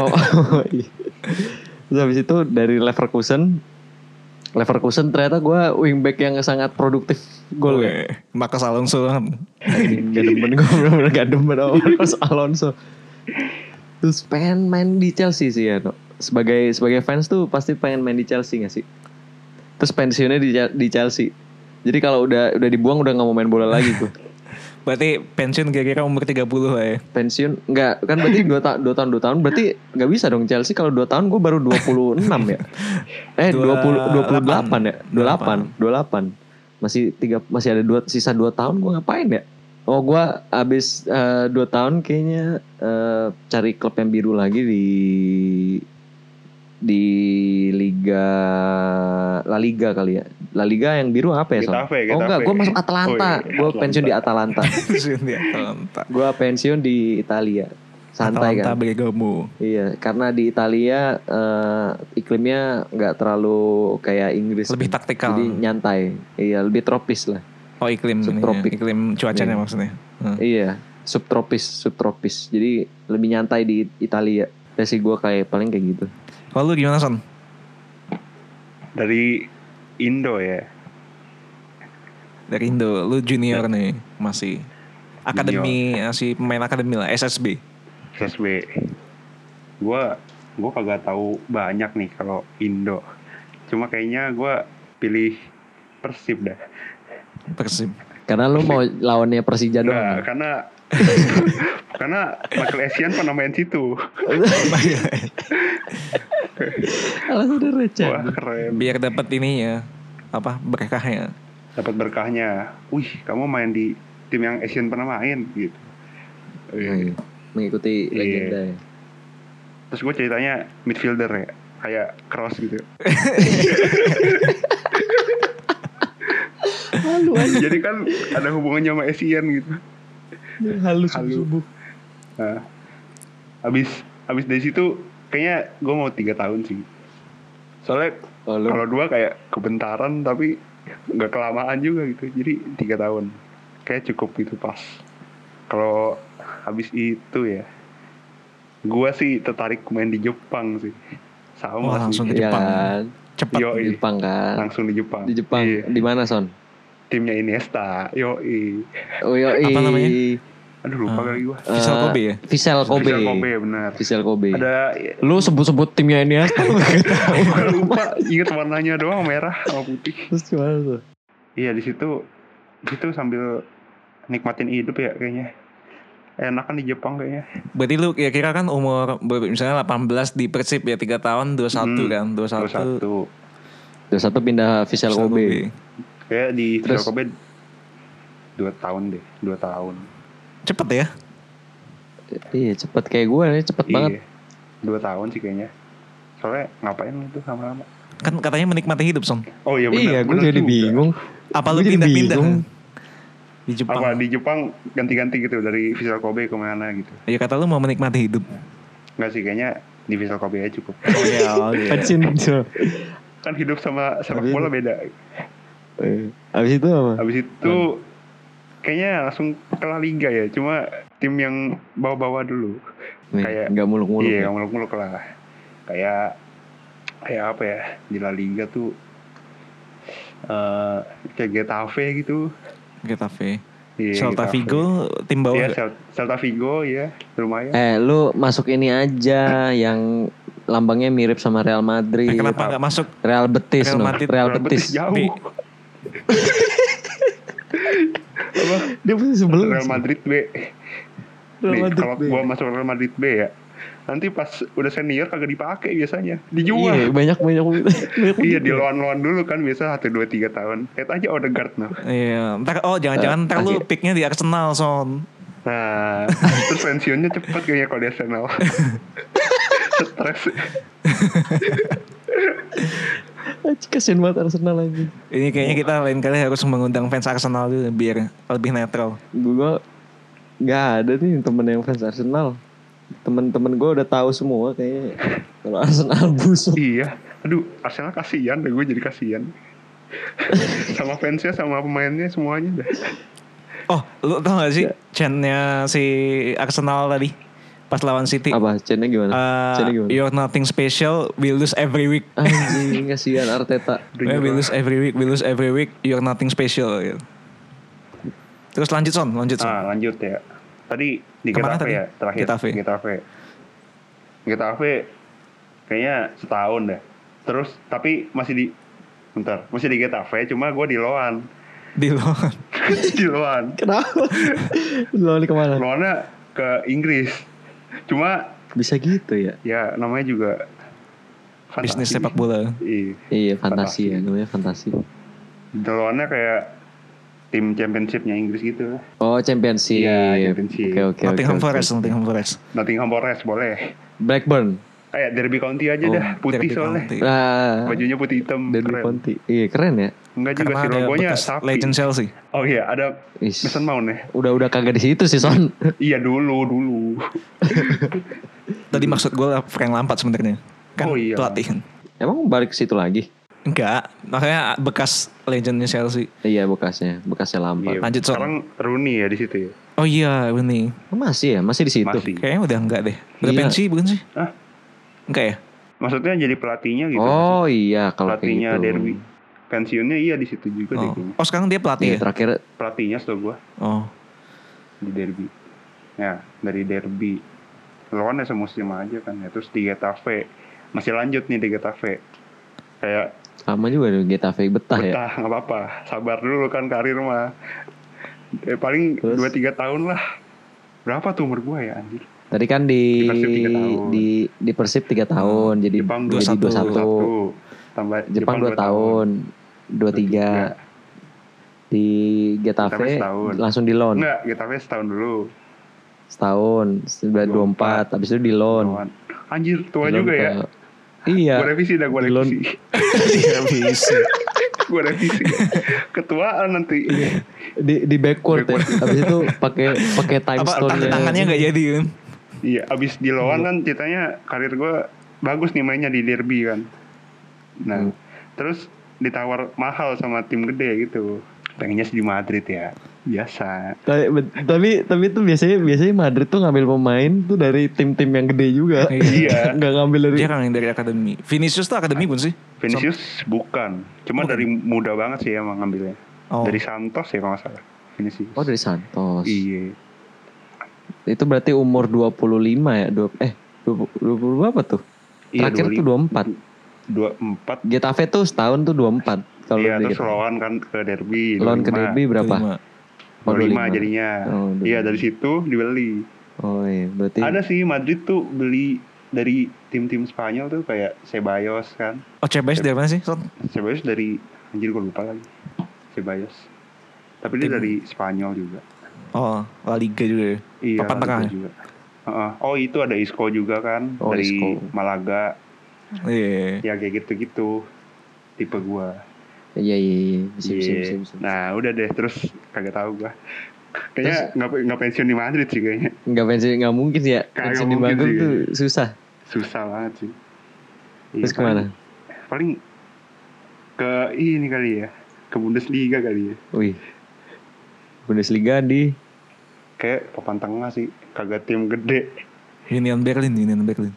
S1: oh, iya. Terus habis itu dari Leverkusen, Leverkusen ternyata gue wingback yang sangat produktif gol ya.
S2: Weh, Marcos Iya. Alonso kan.
S1: Anjing, Gak demen gue bener-bener gak demen sama Marcos Alonso. Terus pengen main di Chelsea sih ya, no. Sebagai sebagai fans tuh pasti pengen main di Chelsea gak sih? Terus pensiunnya di, Chel- di Chelsea. Jadi kalau udah udah dibuang udah nggak mau main bola lagi gue.
S2: Berarti pensiun kira-kira umur 30 lah ya.
S1: Pensiun nggak kan berarti 2 ta dua tahun dua tahun berarti nggak bisa dong Chelsea kalau 2 tahun gue baru 26 ya. Eh
S2: Dua-
S1: 20 28 ya.
S2: 28.
S1: 28, 28. Masih tiga masih ada dua sisa 2 tahun gue ngapain ya? Oh gue abis 2 tahun kayaknya eh, cari klub yang biru lagi di di Liga La Liga kali ya. La Liga yang biru apa ya? Son?
S3: Getafe,
S1: Oh enggak,
S3: Getafe.
S1: gue masuk
S3: Oh,
S1: Atalanta.
S3: iya,
S1: Gue pensiun di
S3: Atalanta.
S1: Atalanta.
S2: pensiun di Atalanta.
S1: Gua pensiun di Italia. Santai kan?
S2: Atalanta Bergamo.
S1: Iya, karena di Italia eh, iklimnya nggak terlalu kayak Inggris.
S2: Lebih
S1: kan.
S2: taktikal.
S1: Jadi nyantai. Iya, lebih tropis lah.
S2: Oh iklim ini ya,
S1: Subtropik.
S2: iklim cuacanya
S1: Iya.
S2: maksudnya. Hmm.
S1: Iya, subtropis, subtropis. Jadi lebih nyantai di Italia. Ya sih gua kayak paling kayak gitu.
S2: Kalau lu gimana Son?
S3: dari Indo ya
S2: Dari Indo,
S1: Ya.
S2: lu junior nih masih akademi masih pemain akademi lah SSB.
S3: SSB gua gua kagak tahu banyak nih kalau Indo cuma kayaknya gua pilih Persib dah
S2: Persib.
S1: Karena lu mau lawannya Persija doang.
S3: Nggak, Nah, karena karena Michael Essien pernah main situ
S1: Alasannya receh.
S3: wah keren
S2: Biar dapat ini ya apa berkahnya.
S3: dapat berkahnya wih kamu main di tim yang Asian pernah main gitu
S1: Iya. Mengikuti
S3: Iya.
S1: legenda ya.
S3: terus gue ceritanya midfielder ya kayak cross gitu
S1: Halu
S3: jadi kan ada hubungannya sama Asian gitu
S1: anjing, halu
S3: Halu.
S1: subuh.
S3: nah, abis abis dari situ kayaknya gue mau tiga tahun sih soalnya
S1: Oh, lu-
S3: kalau dua kayak kebentaran tapi nggak kelamaan juga gitu jadi tiga tahun kayak cukup gitu pas kalau habis itu ya gua sih tertarik main di Jepang sih sama
S2: Wah, langsung
S3: sih
S2: ke
S1: Iya
S2: Jepang.
S1: kan?
S2: Cepat.
S3: Yo,
S1: Di Jepang kan.
S3: langsung di Jepang
S1: Di Jepang.
S3: Iya,
S1: Di mana Son?
S3: timnya Iniesta yoi
S1: Oh iya,
S2: Apa
S1: ih.
S2: namanya?
S3: aduh lupa kali gua
S1: Eh,
S2: Vissel Kobe ya?
S1: Vissel Kobe. Iya.
S3: Bisa Kobe benar
S1: Vissel Kobe.
S3: ada
S1: Lu sebut-sebut timnya ini ya.
S3: gua lupa inget warnanya doang merah sama putih
S1: Terus gimana tuh?
S3: Iya di situ itu sambil nikmatin hidup ya kayaknya. Enakan di Jepang kayaknya.
S2: Berarti lu kira-kira kan umur ber- misalnya 18 di Persib ya 3 tahun 21
S3: Hmm,
S2: kan 21.
S3: 21.
S1: Terus satu pindah Vissel Kobe.
S3: Kayak di
S1: Terus-
S3: Kobe 2 tahun deh, 2 tahun.
S2: Cepet ya.
S1: Iya cepet kayak gue nih cepet banget.
S3: Iya. 2 tahun sih kayaknya. Soalnya ngapain lu itu lama-lama?
S2: Kan katanya menikmati hidup Son.
S3: Oh iya benar.
S1: iya gue
S3: benar
S1: jadi
S3: juga.
S1: bingung.
S2: Apa
S1: Gua
S2: lu
S1: jadi
S2: pindah-pindah
S1: bingung.
S2: di Jepang?
S3: Apa di Jepang ganti-ganti gitu dari Visual Kobe ke mana gitu.
S2: Ya kata lu mau menikmati hidup.
S3: Enggak sih kayaknya di Visual Kobe aja cukup.
S2: Oh iya, oh iya.
S1: Pensiun.
S3: Kan hidup sama sepak
S1: Tapi-
S3: bola beda.
S1: Eh, Abis itu apa?
S3: Habis itu
S1: Iya.
S3: kayaknya langsung ke La Liga ya, cuma tim yang bawa-bawa dulu.
S1: Nih,
S3: kayak-
S1: nggak muluk-muluk.
S3: Iya,
S1: ya.
S3: yang muluk-muluk lah. Kayak kayak apa ya? Di La Liga tuh eh kayak Getafe gitu.
S2: Getafe.
S3: Iya,
S2: Celta
S3: Getafe.
S2: Vigo tim bawah
S3: Iya,
S2: nggak?
S3: Cel- Celta Vigo ya, lumayan.
S1: Eh lu masuk ini aja yang lambangnya mirip sama Real Madrid.
S2: Nah, Kenapa nggak masuk?
S1: Real Betis
S2: Real ya.
S1: Real,
S2: Madrid.
S1: Real
S3: Real
S1: Betis.
S3: jauh.
S2: Bi.
S3: Apa?
S1: Dia pasti sebelum.
S3: Real Madrid B.
S1: Real
S3: Nih,
S1: Madrid
S3: kalau
S1: B.
S3: gua masuk Real Madrid B ya, nanti pas udah senior kagak dipakai biasanya, dijual.
S1: Iya banyak banyak banyak.
S3: Iya di loan-loan dulu kan biasa 1 2 3 tahun. Lihat aja Odegaard nah. noh.
S2: Iya, ntar oh jangan-jangan ntar lu
S1: akhir-
S2: picknya di Arsenal son.
S3: Nah, terus pensiunnya cepet kayaknya kalau di Arsenal. Stres.
S1: Kasian banget Arsenal lagi.
S2: Ini kayaknya kita lain kali harus mengundang fans Arsenal dulu biar lebih netral.
S1: gue nggak ada nih temen yang fans Arsenal temen-temen gue udah tahu semua kayaknya kalau Arsenal busuk
S3: iya. Aduh, Arsenal kasihan deh gue jadi kasihan. sama fansnya sama pemainnya semuanya dah.
S2: Oh, lu tau gak sih
S1: Iya.
S2: chantnya si Arsenal tadi pas lawan City?
S1: apa chainnya gimana
S3: Ah,
S2: Eh,
S1: chainnya gimana
S3: iya.
S2: you're nothing special, we lose every week.
S1: anjing kasihan Arteta
S3: Udah
S2: Eh, we
S3: nyerah.
S2: lose every week, we lose every week, you're nothing special. gitu. Terus
S3: Ah.
S2: lanjut son, lanjut son.
S3: Nah, lanjut ya. Tadi di
S2: Kemana
S3: Getafe
S2: tadi?
S3: ya terakhir.
S2: Getafe.
S3: Getafe. Getafe kayaknya setahun deh. Terus tapi masih di bentar, masih di Getafe cuma gue di Loan.
S2: Di luar.
S3: di Loan.
S1: Kenapa? Lo ini kemana?
S3: Loannya ke Inggris. Cuma
S1: Bisa gitu ya?
S3: ya namanya juga fantasi.
S2: Bisnis sepak bola.
S3: Iya.
S1: Iya fantasi, ya, namanya fantasi.
S3: Di Loannya kayak tim championshipnya Inggris gitu.
S1: Oh championship.
S3: Iya, championship.
S1: Oke oke. oke,
S2: Nottingham
S1: oke.
S2: Forest, Nottingham Forest.
S3: Nottingham Forest boleh.
S1: Blackburn.
S3: Kayak Derby County aja
S2: Oh,
S3: dah,
S2: Derby
S3: putih soalnya.
S2: County.
S1: Nah,
S3: Bajunya putih hitam,
S1: Derby
S3: Iya. keren.
S1: County. Iya keren ya.
S3: Enggak juga
S2: Karena
S3: sih
S2: ada
S3: logonya
S2: bekas
S3: sapi.
S2: Legend Chelsea.
S3: Oh iya, ada
S1: Is.
S3: Mason Mount ya.
S1: Udah udah kagak di situ sih son.
S3: Iya dulu dulu.
S2: Tadi maksud gue Frank Lampard sebenarnya. Kan
S3: Hmm. Oh, iya.
S2: pelatih kan.
S1: Emang balik ke situ lagi?
S2: Enggak, makanya bekas legendnya Chelsea.
S1: Iya bekasnya, bekasnya
S3: Iya.
S1: Lampard.
S2: Lanjut, Son.
S3: Sekarang Rooney ya di situ ya.
S2: Oh iya, ini.
S1: Masih ya, masih
S2: Gitu.
S1: di situ.
S3: Masih.
S2: Kayaknya udah enggak deh. Udah
S1: Gila.
S2: pensi bukan sih?
S3: Hah?
S2: Enggak ya?
S3: Maksudnya jadi pelatihnya gitu.
S1: Oh iya kalau kayak
S3: pelatihnya
S1: gitu.
S3: Derby. Pensiunnya iya di situ juga deh
S2: Oh.
S3: kayaknya.
S2: oh, sekarang dia
S1: Iya
S2: pelatih ya?
S1: terakhir
S3: Pelatihnya setahu gua
S2: Oh.
S3: di Derby. Ya, dari Derby. Lawannya semusim aja kan ya. Terus di Getafe. Masih lanjut nih di Getafe. Kayak
S1: sama juga dong Getafe betah, ya.
S3: betah nggak apa-apa. Sabar dulu kan karir mah. Eh, paling
S1: Terus?
S3: 2-3 tahun lah. Berapa tuh umur gua ya anjir?
S1: Tadi kan di
S3: Di Persib tiga tahun. Hmm,
S1: di di Persib 3 tahun jadi
S3: Jepang
S1: jadi
S2: 21.
S1: 21.
S3: 21. Tambah
S1: Jepang 2
S3: dua Iya.
S1: tahun, 23
S3: 23.
S1: di
S3: Getafe
S1: Getafe
S3: setahun.
S1: langsung di loan
S3: Enggak, Getafe setahun dulu.
S1: setahun 24 habis itu di loan.
S3: Lawan. Anjir, tua
S1: Di loan
S3: juga ya.
S1: ke- Iya.
S3: Gue revisi dah, gue
S1: Di loan.
S3: revisi.
S1: Iya,
S3: gue revisi. Ketuaan nanti.
S1: Iya. Di di backward, ya. Habis itu pakai pakai time ya.
S2: Apa
S1: stone
S2: tang- tangannya enggak jadi kan?
S3: Iya, abis di lawan kan ceritanya karir gue bagus nih mainnya di derby kan.
S1: Hmm.
S3: Nah, terus ditawar mahal sama tim gede gitu. Pengennya sih di Madrid ya. Biasa.
S1: Tapi, tapi tapi itu biasanya biasanya Madrid tuh ngambil pemain tuh dari tim-tim yang gede juga.
S3: Iya.
S1: Nggak ngambil dari
S2: Dia kan yang dari akademi. Vinicius tuh akademi bukan sih?
S3: Vinicius bukan.
S1: Oh,
S3: Cuma dari muda banget sih emang ngambilnya.
S2: Oh.
S3: Dari Santos ya kalau nggak salah. Vinicius.
S1: Oh dari Santos.
S3: Iya.
S1: Itu berarti umur 25 ya. Dua, eh 20, 20 berapa tuh?
S3: Iya,
S1: Terakhir
S3: 25.
S1: tuh 24.
S3: 24
S1: Getafe tuh setahun tuh 24 kalau
S3: Iya
S1: di
S3: terus
S1: Getafe.
S3: lawan kan ke derby
S1: Lawan ke
S3: 25.
S1: Derby berapa?
S2: Kelima.
S1: Oh,
S3: 25 jadinya
S1: Oh, 25.
S3: Iya dari situ dibeli
S1: Oh iya, berarti
S3: Ada sih Madrid tuh beli dari tim-tim Spanyol tuh kayak Ceballos kan
S2: Oh, Cebes dari mana sih? Son?
S3: Ceballos dari Anjir gue lupa lagi Ceballos Tapi dia
S2: Tim-
S3: dari Spanyol juga
S2: Oh, La Liga juga ya.
S3: Iya
S2: Papan
S3: itu
S2: tengah.
S3: juga. Heeh. Oh itu ada Isco juga kan
S1: Oh,
S3: Dari
S1: Isco.
S3: Malaga
S2: Iya.
S3: Ya kayak gitu-gitu Tipe gua
S1: iya iya iya bisa
S3: Iya.
S1: bisa bisa. bisa.
S3: Nah udah deh terus kagak tahu gua Kayaknya nggak nggak pensiun di Madrid sih kayaknya
S1: Nggak pensiun nggak mungkin sih ya.
S3: Kagak
S1: Pensiun di
S3: mungkin
S1: Bandung
S3: sih. Iya,
S1: tuh susah.
S3: susah banget sih.
S1: Terus
S3: Iya,
S1: kemana?
S3: Paling, paling ke ini kali ya, ke Bundesliga kali ya.
S1: Wih. Bundesliga di
S3: Kayak papan tengah sih, kagak tim gede.
S2: Union Berlin, Union Berlin.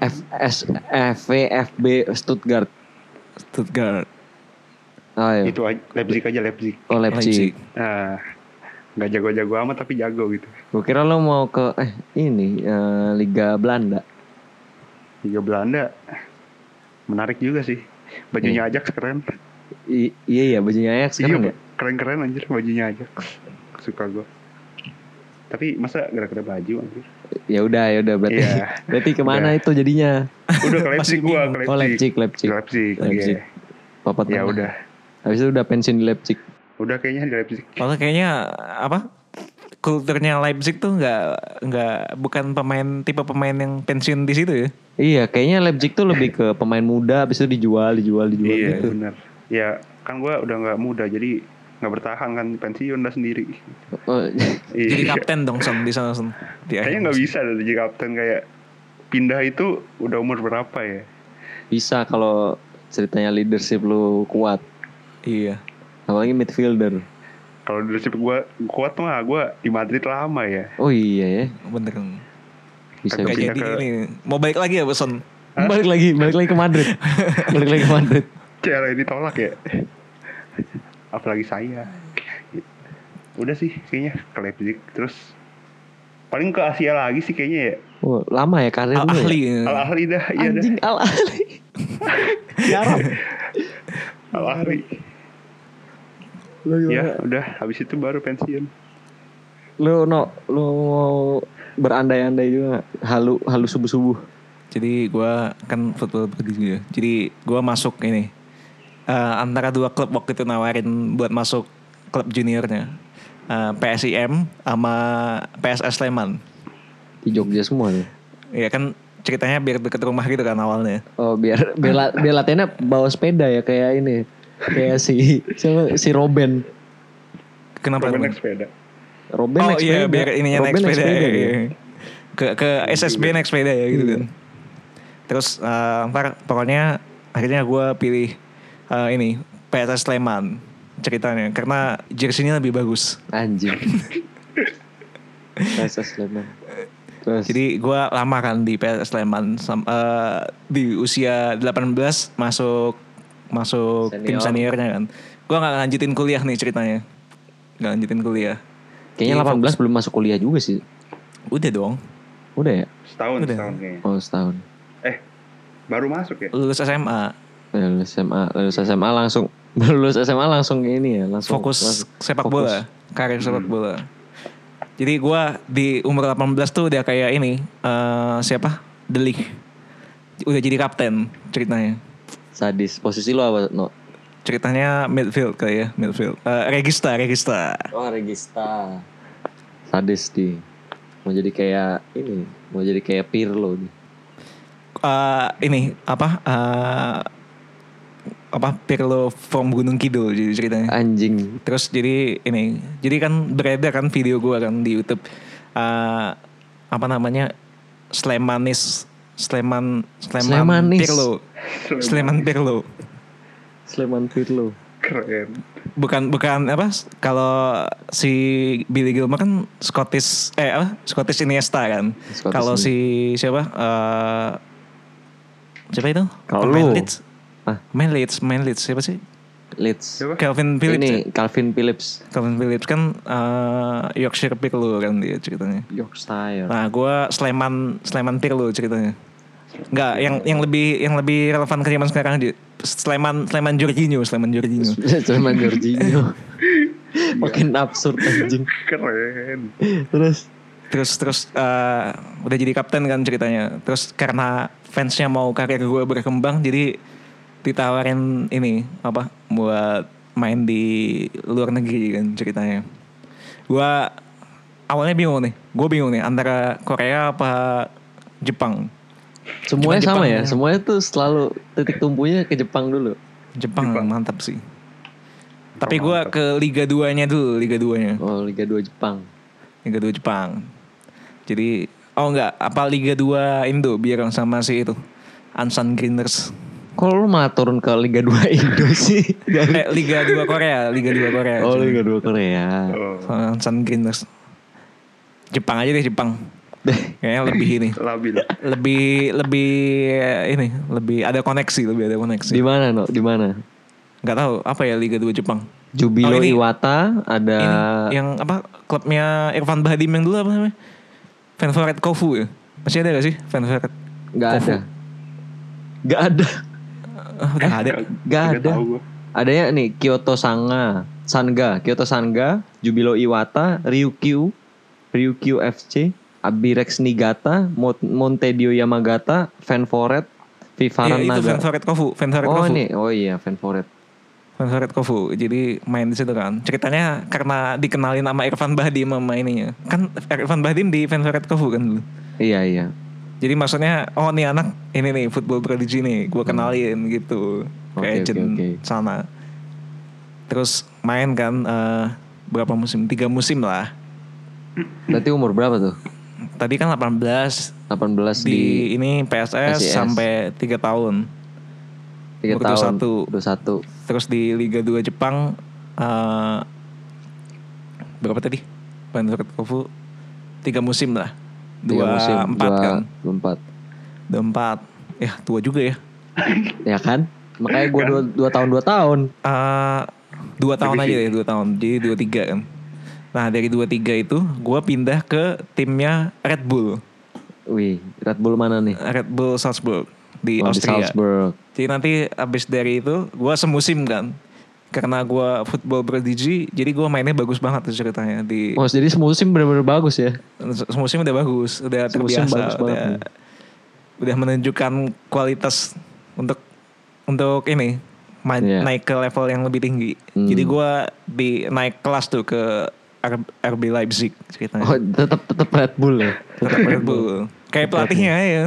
S1: FS FVFB Stuttgart.
S2: Stuttgart.
S1: Ah, iya.
S3: Itu aja, Leipzig aja Leipzig.
S1: Oh Leipzig.
S3: Nah, nggak jago-jago amat tapi jago gitu.
S1: Gue kira lo mau ke eh ini eh, Liga Belanda.
S3: Liga Belanda menarik juga sih. Bajunya Ajax keren.
S1: I- iya iya bajunya Ajax
S3: iya,
S1: sekarang Iya. ya.
S3: keren-keren anjir bajunya Ajax. Suka gua. Tapi masa gara-gara baju anjir.
S1: Ya udah ya udah berarti
S3: Iya.
S1: berarti kemana
S3: Udah.
S1: itu jadinya?
S3: Udah ke Leipzig
S2: Masih
S3: gua,
S2: bingung.
S3: ke
S1: Oh Leipzig Leipzig.
S3: Leipzig,
S1: Leipzig.
S3: iya.
S1: Papat
S3: Ya udah.
S1: Habis itu udah pensiun di Leipzig.
S3: Udah kayaknya di Leipzig.
S2: Padahal kayaknya apa? Kulturnya Leipzig tuh nggak nggak bukan pemain tipe pemain yang pensiun di situ ya.
S1: Iya, kayaknya Leipzig tuh lebih ke pemain muda, habis itu dijual, dijual, dijual
S3: Iya
S1: gitu.
S3: benar. Ya kan gua udah nggak muda jadi nggak bertahan kan pensiun dah sendiri.
S1: Oh,
S2: Jadi
S3: Iya.
S2: kapten ya? dong Son di sana Son. Di akhir
S3: Kayaknya nggak bisa dah jadi kapten kayak pindah itu udah umur berapa ya?
S1: bisa kalau ceritanya leadership lu kuat,
S2: musim. Iya.
S1: apalagi midfielder.
S3: Kalau leadership gua kuat mah gua di Madrid lama ya.
S1: Oh iya ya,
S2: Bener.
S1: bisa. bisa.
S2: Nggak
S3: Tapi pindah
S2: jadi
S3: ke-
S2: ini. Mau balik lagi ya Son?
S1: Balik lagi, balik lagi ke Madrid. balik lagi ke Madrid.
S3: Cara ditolak ya. Apalagi saya. Udah sih kayaknya ke Leipzig terus paling ke Asia lagi sih kayaknya ya
S1: Wah, lama ya karir
S2: Al
S1: lu ya?
S2: Ah, ahli.
S3: Al Ahli dah ya dah
S1: Anjing Al Ahli. Di Arab.
S3: Al Ahli
S1: Lu gimana?
S3: ya udah habis itu baru pensiun
S1: Lu no, lu mau berandai-andai juga nggak? halu halu subuh-subuh.
S2: Jadi gua kan football juga. Jadi gua masuk ini eh, antara dua klub waktu itu nawarin buat masuk klub juniornya Eh, PSIM sama PSS Sleman.
S1: Di Jogja semua nih.
S2: Ya kan ceritanya biar deket rumah gitu kan awalnya.
S1: Oh, biar biar, la- biar latihannya bawa sepeda ya kayak ini. Kayak si siapa? si Robin.
S2: Kenapa?
S3: Robin
S2: Bun?
S3: naik sepeda
S1: Robin
S2: oh
S1: naik
S2: iya
S1: sepeda.
S2: biar ininya naik
S1: Robin
S2: sepeda. iya,
S1: dia.
S2: iya. Ke ke SSB naik sepeda ya gitu kan. Terus eh, ntar pokoknya akhirnya gue pilih eh, ini PSS Sleman ceritanya karena jersinya lebih bagus.
S1: Anjing. Kasus Sleman. Terus
S2: Jadi gue lama kan di PSS Sleman sam- eh, di usia 18 masuk masuk tim
S1: Senior.
S2: seniornya kan. Gue nggak lanjutin kuliah nih ceritanya. Nggak lanjutin kuliah.
S1: kayaknya 18 belum masuk kuliah juga sih.
S2: Udah dong.
S1: Udah ya?
S3: setahun
S2: Udah.
S3: setahun kayaknya
S1: Oh, setahun.
S3: eh baru masuk ya
S2: Lulus SMA
S1: Lulus SMA, lulus SMA langsung lulus SMA langsung ini ya, langsung
S2: fokus
S1: langsung-
S2: sepak
S1: fokus. Hmm.
S2: bola, karir sepak bola. Jadi gua di umur 18 tuh udah kayak ini eh, siapa? Delik. Udah jadi kapten ceritanya.
S1: Sadis. Posisi lo apa? No.
S2: Ceritanya midfield kayak ya, midfield. Eh, regista, regista.
S1: Oh, regista. Sadis di. Mau jadi kayak ini, mau jadi kayak Pirlo nih.
S2: Eh, ini apa? Eh, apa Pirlo from Gunung Kidul jadi ceritanya.
S1: Anjing.
S2: Terus jadi ini, jadi kan beredar kan video gua kan di YouTube Eh, apa namanya Slemanis Sleman Sleman
S1: Slemanis.
S2: Pirlo Sleman Pirlo
S1: Sleman Pirlo.
S3: keren
S2: bukan bukan apa kalau si Billy Gilmore kan Scottish eh apa Scottish Iniesta kan
S1: Scottish
S2: kalau si siapa Eh siapa itu
S1: Kalau
S2: Pemain
S1: lu.
S2: Leeds
S1: Hah?
S2: main Leeds main Leeds siapa sih
S1: Ah, Leeds.
S3: Siapa?
S2: Calvin Phillips ya?
S1: Ini Calvin Phillips.
S2: Calvin Phillips kan eh Yorkshire Pirlo kan dia ceritanya
S1: Yorkshire.
S2: Nah, gue Sleman Sleman Pirlo ceritanya. Enggak, yang yang lebih yang lebih relevan ke zaman sekarang di Sleman Sleman Jorginho, Sleman Jorginho.
S1: Sleman Jorginho. Makin absurd anjing.
S3: keren
S1: Terus
S2: Terus terus eh, udah jadi kapten kan ceritanya. Terus karena fansnya mau karir gue berkembang, jadi ditawarin ini apa buat main di luar negeri kan ceritanya. Gue awalnya bingung nih, gue bingung nih antara Korea apa Jepang.
S1: semuanya
S2: Jepang
S1: sama ya.
S2: ya.
S1: Semuanya tuh selalu titik tumpunya ke Jepang dulu.
S2: Jepang, mantap sih. Tapi
S3: Jepang
S2: gua ke Liga 2-nya dulu, Liga 2-nya.
S1: Oh, Liga 2 Jepang.
S2: Liga 2 Jepang. Jadi, oh enggak, apa Liga 2 Indo biar sama si itu. Ansan Grinders.
S1: Kalau lu malah turun ke Liga 2 Indo sih.
S2: eh, Liga 2 Korea, Liga 2 Korea.
S1: Oh, Liga 2 Korea.
S3: oh,
S2: Ansan Grinders. Jepang aja deh, Jepang. Kayaknya lebih ini.
S3: labil
S2: Lebih lebih eh, ini, lebih ada koneksi, lebih ada koneksi.
S1: Di mana, No? Di mana?
S2: Enggak tahu apa ya Liga 2 Jepang.
S1: Jubilo
S2: Oh, ini-
S1: Iwata ada
S2: ini yang apa klubnya Irfan Bahdim yang dulu apa namanya? Fanfaret Kofu ya. Masih ada gak sih Fanfaret?
S1: nggak ada. Nggak ada.
S2: Ah, udah nggak ada.
S1: Nggak ada.
S3: tahu gua.
S1: Adanya nih Kyoto Sanga, Sanga, Kyoto Sanga, Jubilo Iwata, Ryukyu, Ryukyu FC, Abirex Niigata, Mo- Montedio Yamagata, Fanforet,
S2: Iya,
S1: Vivaran
S2: itu
S1: Naga.
S2: Fanfaret Kofu, Fanfaret
S1: Oh
S2: Kofu.
S1: ini, oh iya Fanforet.
S2: Fanfaret Kofu. Jadi main di situ kan. Ceritanya karena dikenalin nama Irfan Bahdim sama ininya. Kan Irfan Bahdim di Fanfaret Kofu kan dulu.
S1: Iya iya.
S2: Jadi maksudnya oh nih anak ini nih football prodigy nih gue kenalin gitu
S1: Hmm. Oke,
S2: ke
S1: oke,
S2: agent
S1: oke.
S2: sana. Terus main kan eh, berapa musim? Tiga musim lah.
S1: Berarti umur berapa tuh?
S2: Tadi kan 18
S1: 18
S2: di
S1: di,
S2: ini PSS,
S1: PSIS.
S2: sampai 3 tahun.
S1: 3
S2: umur
S1: tahun. 21.
S2: 21. Terus di Liga 2 Jepang eh, berapa tadi? Panfret Kofu 3 musim lah. 2
S1: Tiga musim.
S2: 4 kan.
S1: 24.
S2: 2 4. Ya, tua juga ya.
S1: Ya kan? Makanya
S2: Iya
S1: gue 2 tahun 2 tahun.
S2: ya, Eh 2 tahun aja deh, 2 tahun. Jadi 23 kan. Nah dari 2-3 itu gue pindah ke timnya Red Bull.
S1: Wih, Red Bull mana nih?
S2: Red Bull Salzburg di
S1: Oh, di
S2: Austria.
S1: Salzburg.
S2: Jadi nanti abis dari itu gue semusim kan. Karena gue football prodigy jadi gue mainnya bagus banget tuh ceritanya. Di
S1: Oh, jadi semusim bener-bener bagus ya.
S2: se- semusim udah bagus, udah
S1: Semusim
S2: terbiasa,
S1: bagus banget
S2: udah,
S1: nih.
S2: udah menunjukkan kualitas untuk untuk ini ma-
S1: Iya.
S2: naik ke level yang lebih tinggi.
S1: Hmm.
S2: Jadi gue di naik kelas tuh ke R- RB Leipzig ceritanya.
S1: Oh, tetap tetap Red Bull ya.
S2: Tetap Red Bull. Kayak pelatihnya ya.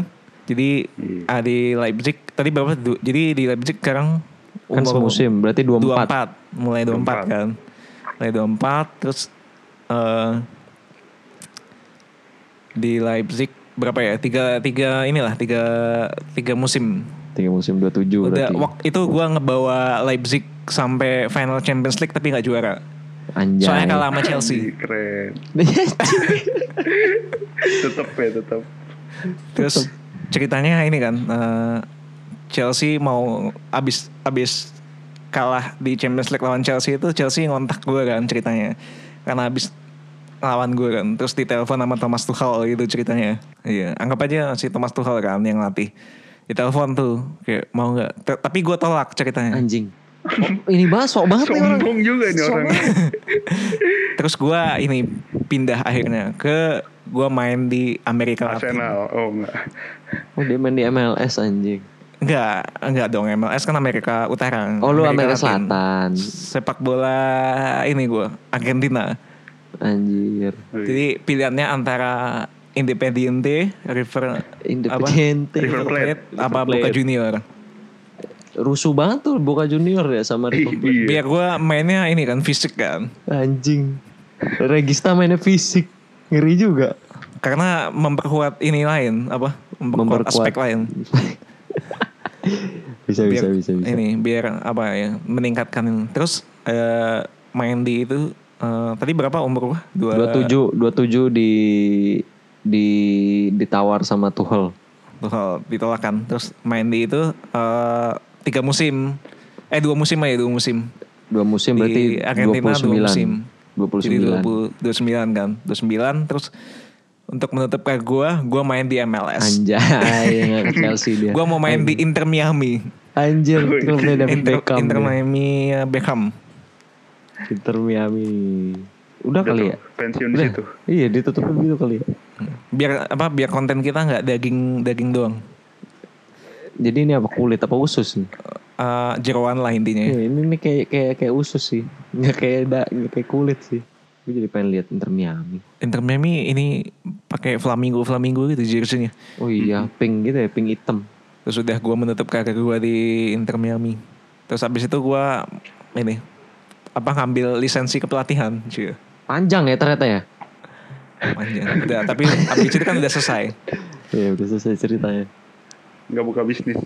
S2: Jadi ah, di Leipzig tadi berapa? Du- Jadi di Leipzig sekarang
S1: Kan
S2: umur-
S1: semusim, berarti 24.
S2: 24. Mulai 24,
S3: 24.
S2: kan. Mulai 24 terus eh, di Leipzig berapa ya? Tiga tiga inilah tiga tiga musim.
S1: Tiga musim 27
S2: Udah
S1: berarti.
S2: waktu itu gua ngebawa Leipzig sampai final Champions League tapi nggak juara.
S1: Anjay.
S2: Soalnya kalah sama Chelsea.
S3: keren tetep ya tetep
S2: Terus ceritanya ini kan eh, Chelsea mau abis abis kalah di Champions League lawan Chelsea itu Chelsea ngontak gue kan ceritanya karena abis lawan gue kan terus ditelepon sama Thomas Tuchel gitu ceritanya iya anggap aja si Thomas Tuchel kan yang latih ditelepon tuh kayak mau nggak Te- tapi gue tolak ceritanya
S1: Anjing. Oh, ini bahas sok banget nih orang.
S3: sombong juga nih
S1: Sok
S3: orang
S1: banget.
S2: terus gue ini pindah akhirnya ke gue main di Amerika Latin
S3: Arsenal oh enggak
S1: Oh, dia main di MLS anjing.
S2: Enggak, enggak dong MLS kan Amerika Utara.
S1: Oh, lu Amerika
S2: Latin.
S1: Selatan.
S2: Sepak bola ini gue, Argentina.
S1: Anjir.
S3: Wih,
S2: Jadi pilihannya antara Independiente, River
S1: Independiente.
S2: apa? River Plate, Iya. apa
S1: River Plate.
S2: Boca Junior.
S1: Rusuh banget tuh Boca Junior ya sama River Plate.
S3: iya
S2: Biar gue mainnya ini kan fisik kan.
S1: Anjing. Regista mainnya fisik. Ngeri juga.
S2: Karena memperkuat ini lain, apa? Memperkuat,
S1: Memperkuat.
S2: aspek lain.
S1: Bisa
S2: biar
S1: bisa bisa bisa.
S2: ini biar apa ya meningkatkan terus eh, main di itu eh, tadi berapa umur gua? Dua-
S1: 27 27 di di ditawar sama Tuchel.
S2: Tuchel ditolak kan terus main di itu eh, tiga musim eh dua musim aja dua musim
S1: Dua musim berarti
S2: di Argentina dua musim
S1: 29.
S2: jadi
S1: 29.
S2: 20 29 kan 29 terus untuk menutup karir gue gue main di MLS
S1: Anjay, nggak ke Chelsea dia.
S2: gue mau main di Inter Miami
S1: Anjir, klubnya David
S2: Inter,
S1: Beckham.
S2: Inter
S1: dia.
S2: Miami eh, Beckham
S1: Inter Miami. Udah
S3: Udah
S1: kali
S3: tuh,
S1: ya?
S3: pensiun di
S1: Udah.
S3: situ
S1: Iya, ditutup gitu kali ya.
S2: biar apa biar konten kita nggak daging daging doang
S1: Jadi ini apa kulit apa usus nih?
S2: Eh, jeroan lah intinya
S1: Ya, ini nih kayak kayak kayak usus sih. Nggak kayak da, nggak kayak kulit sih. Gue jadi pengen lihat Inter Miami.
S2: Inter Miami ini pakai flamingo flamingo gitu jersinya
S1: Oh iya, pink gitu ya, pink hitam.
S2: Terus udah gue menutup karir gue di Inter Miami. Terus abis itu gue ini apa ngambil lisensi kepelatihan cuy
S1: Panjang ya ternyata ya.
S2: panjang. Udah, tapi abis itu kan udah selesai.
S1: Ya udah selesai ceritanya.
S3: nggak buka bisnis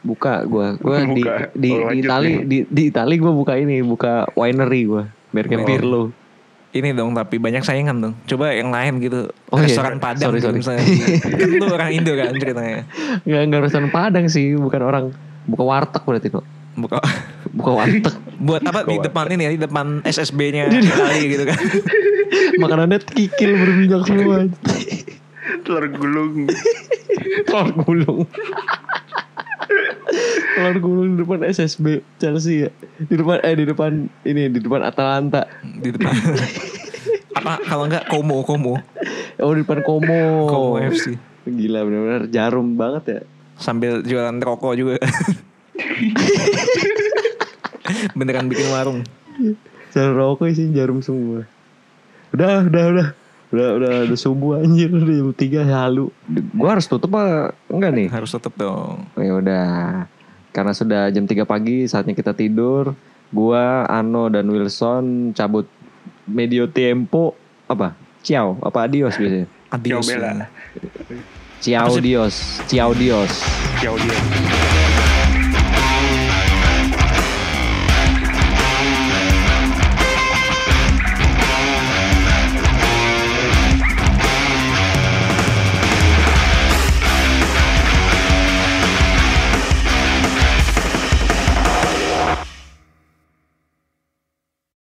S1: Buka gua, gua di
S3: Buka.
S1: di,
S3: Oh,
S1: di
S3: lanjut
S1: Itali
S3: nih.
S1: di di Itali gua buka ini, buka winery gua. Mereka
S2: Oh.
S1: Pirlo.
S2: Ini dong tapi banyak saingan dong. Coba yang lain gitu.
S1: Oh iya.
S2: Restoran Padang
S1: Sorry,
S2: gitu
S1: sorry.
S2: misalnya. kan lu orang Indo kan ceritanya.
S1: Nggak nggak restoran Padang sih, bukan orang buka warteg berarti kok.
S2: Buka
S1: Buka warteg.
S2: buat apa di depan ini ya di depan SSB-nya kali gitu kan.
S1: Makanannya kikil berminyak semua.
S3: telur gulung
S1: Telur gulung. Telur gulung di depan SSB Chelsea ya. Di depan eh di depan ini di depan Atalanta.
S2: Di depan. apa kalau enggak komo komo
S1: Oh di depan Como.
S2: komo FC
S1: Gila benar-benar jarum banget ya.
S2: sambil jualan rokok juga beneran bikin warung
S1: Jarum rokok sih jarum semua. Udah, udah, udah. Udah, udah, udah subuh anjir udah jam tiga halu. Gua harus tutup apa enggak nih?
S2: harus tutup dong
S1: Oh, Ya udah. Karena sudah jam 3 pagi saatnya kita tidur. Gua, Ano dan Wilson cabut medio tempo apa? Ciao, apa adios biasanya?
S2: adios ya.
S3: Ciao Bella
S1: Ciao
S2: Apa sih?
S1: dios, ciao dios.
S3: Ciao dia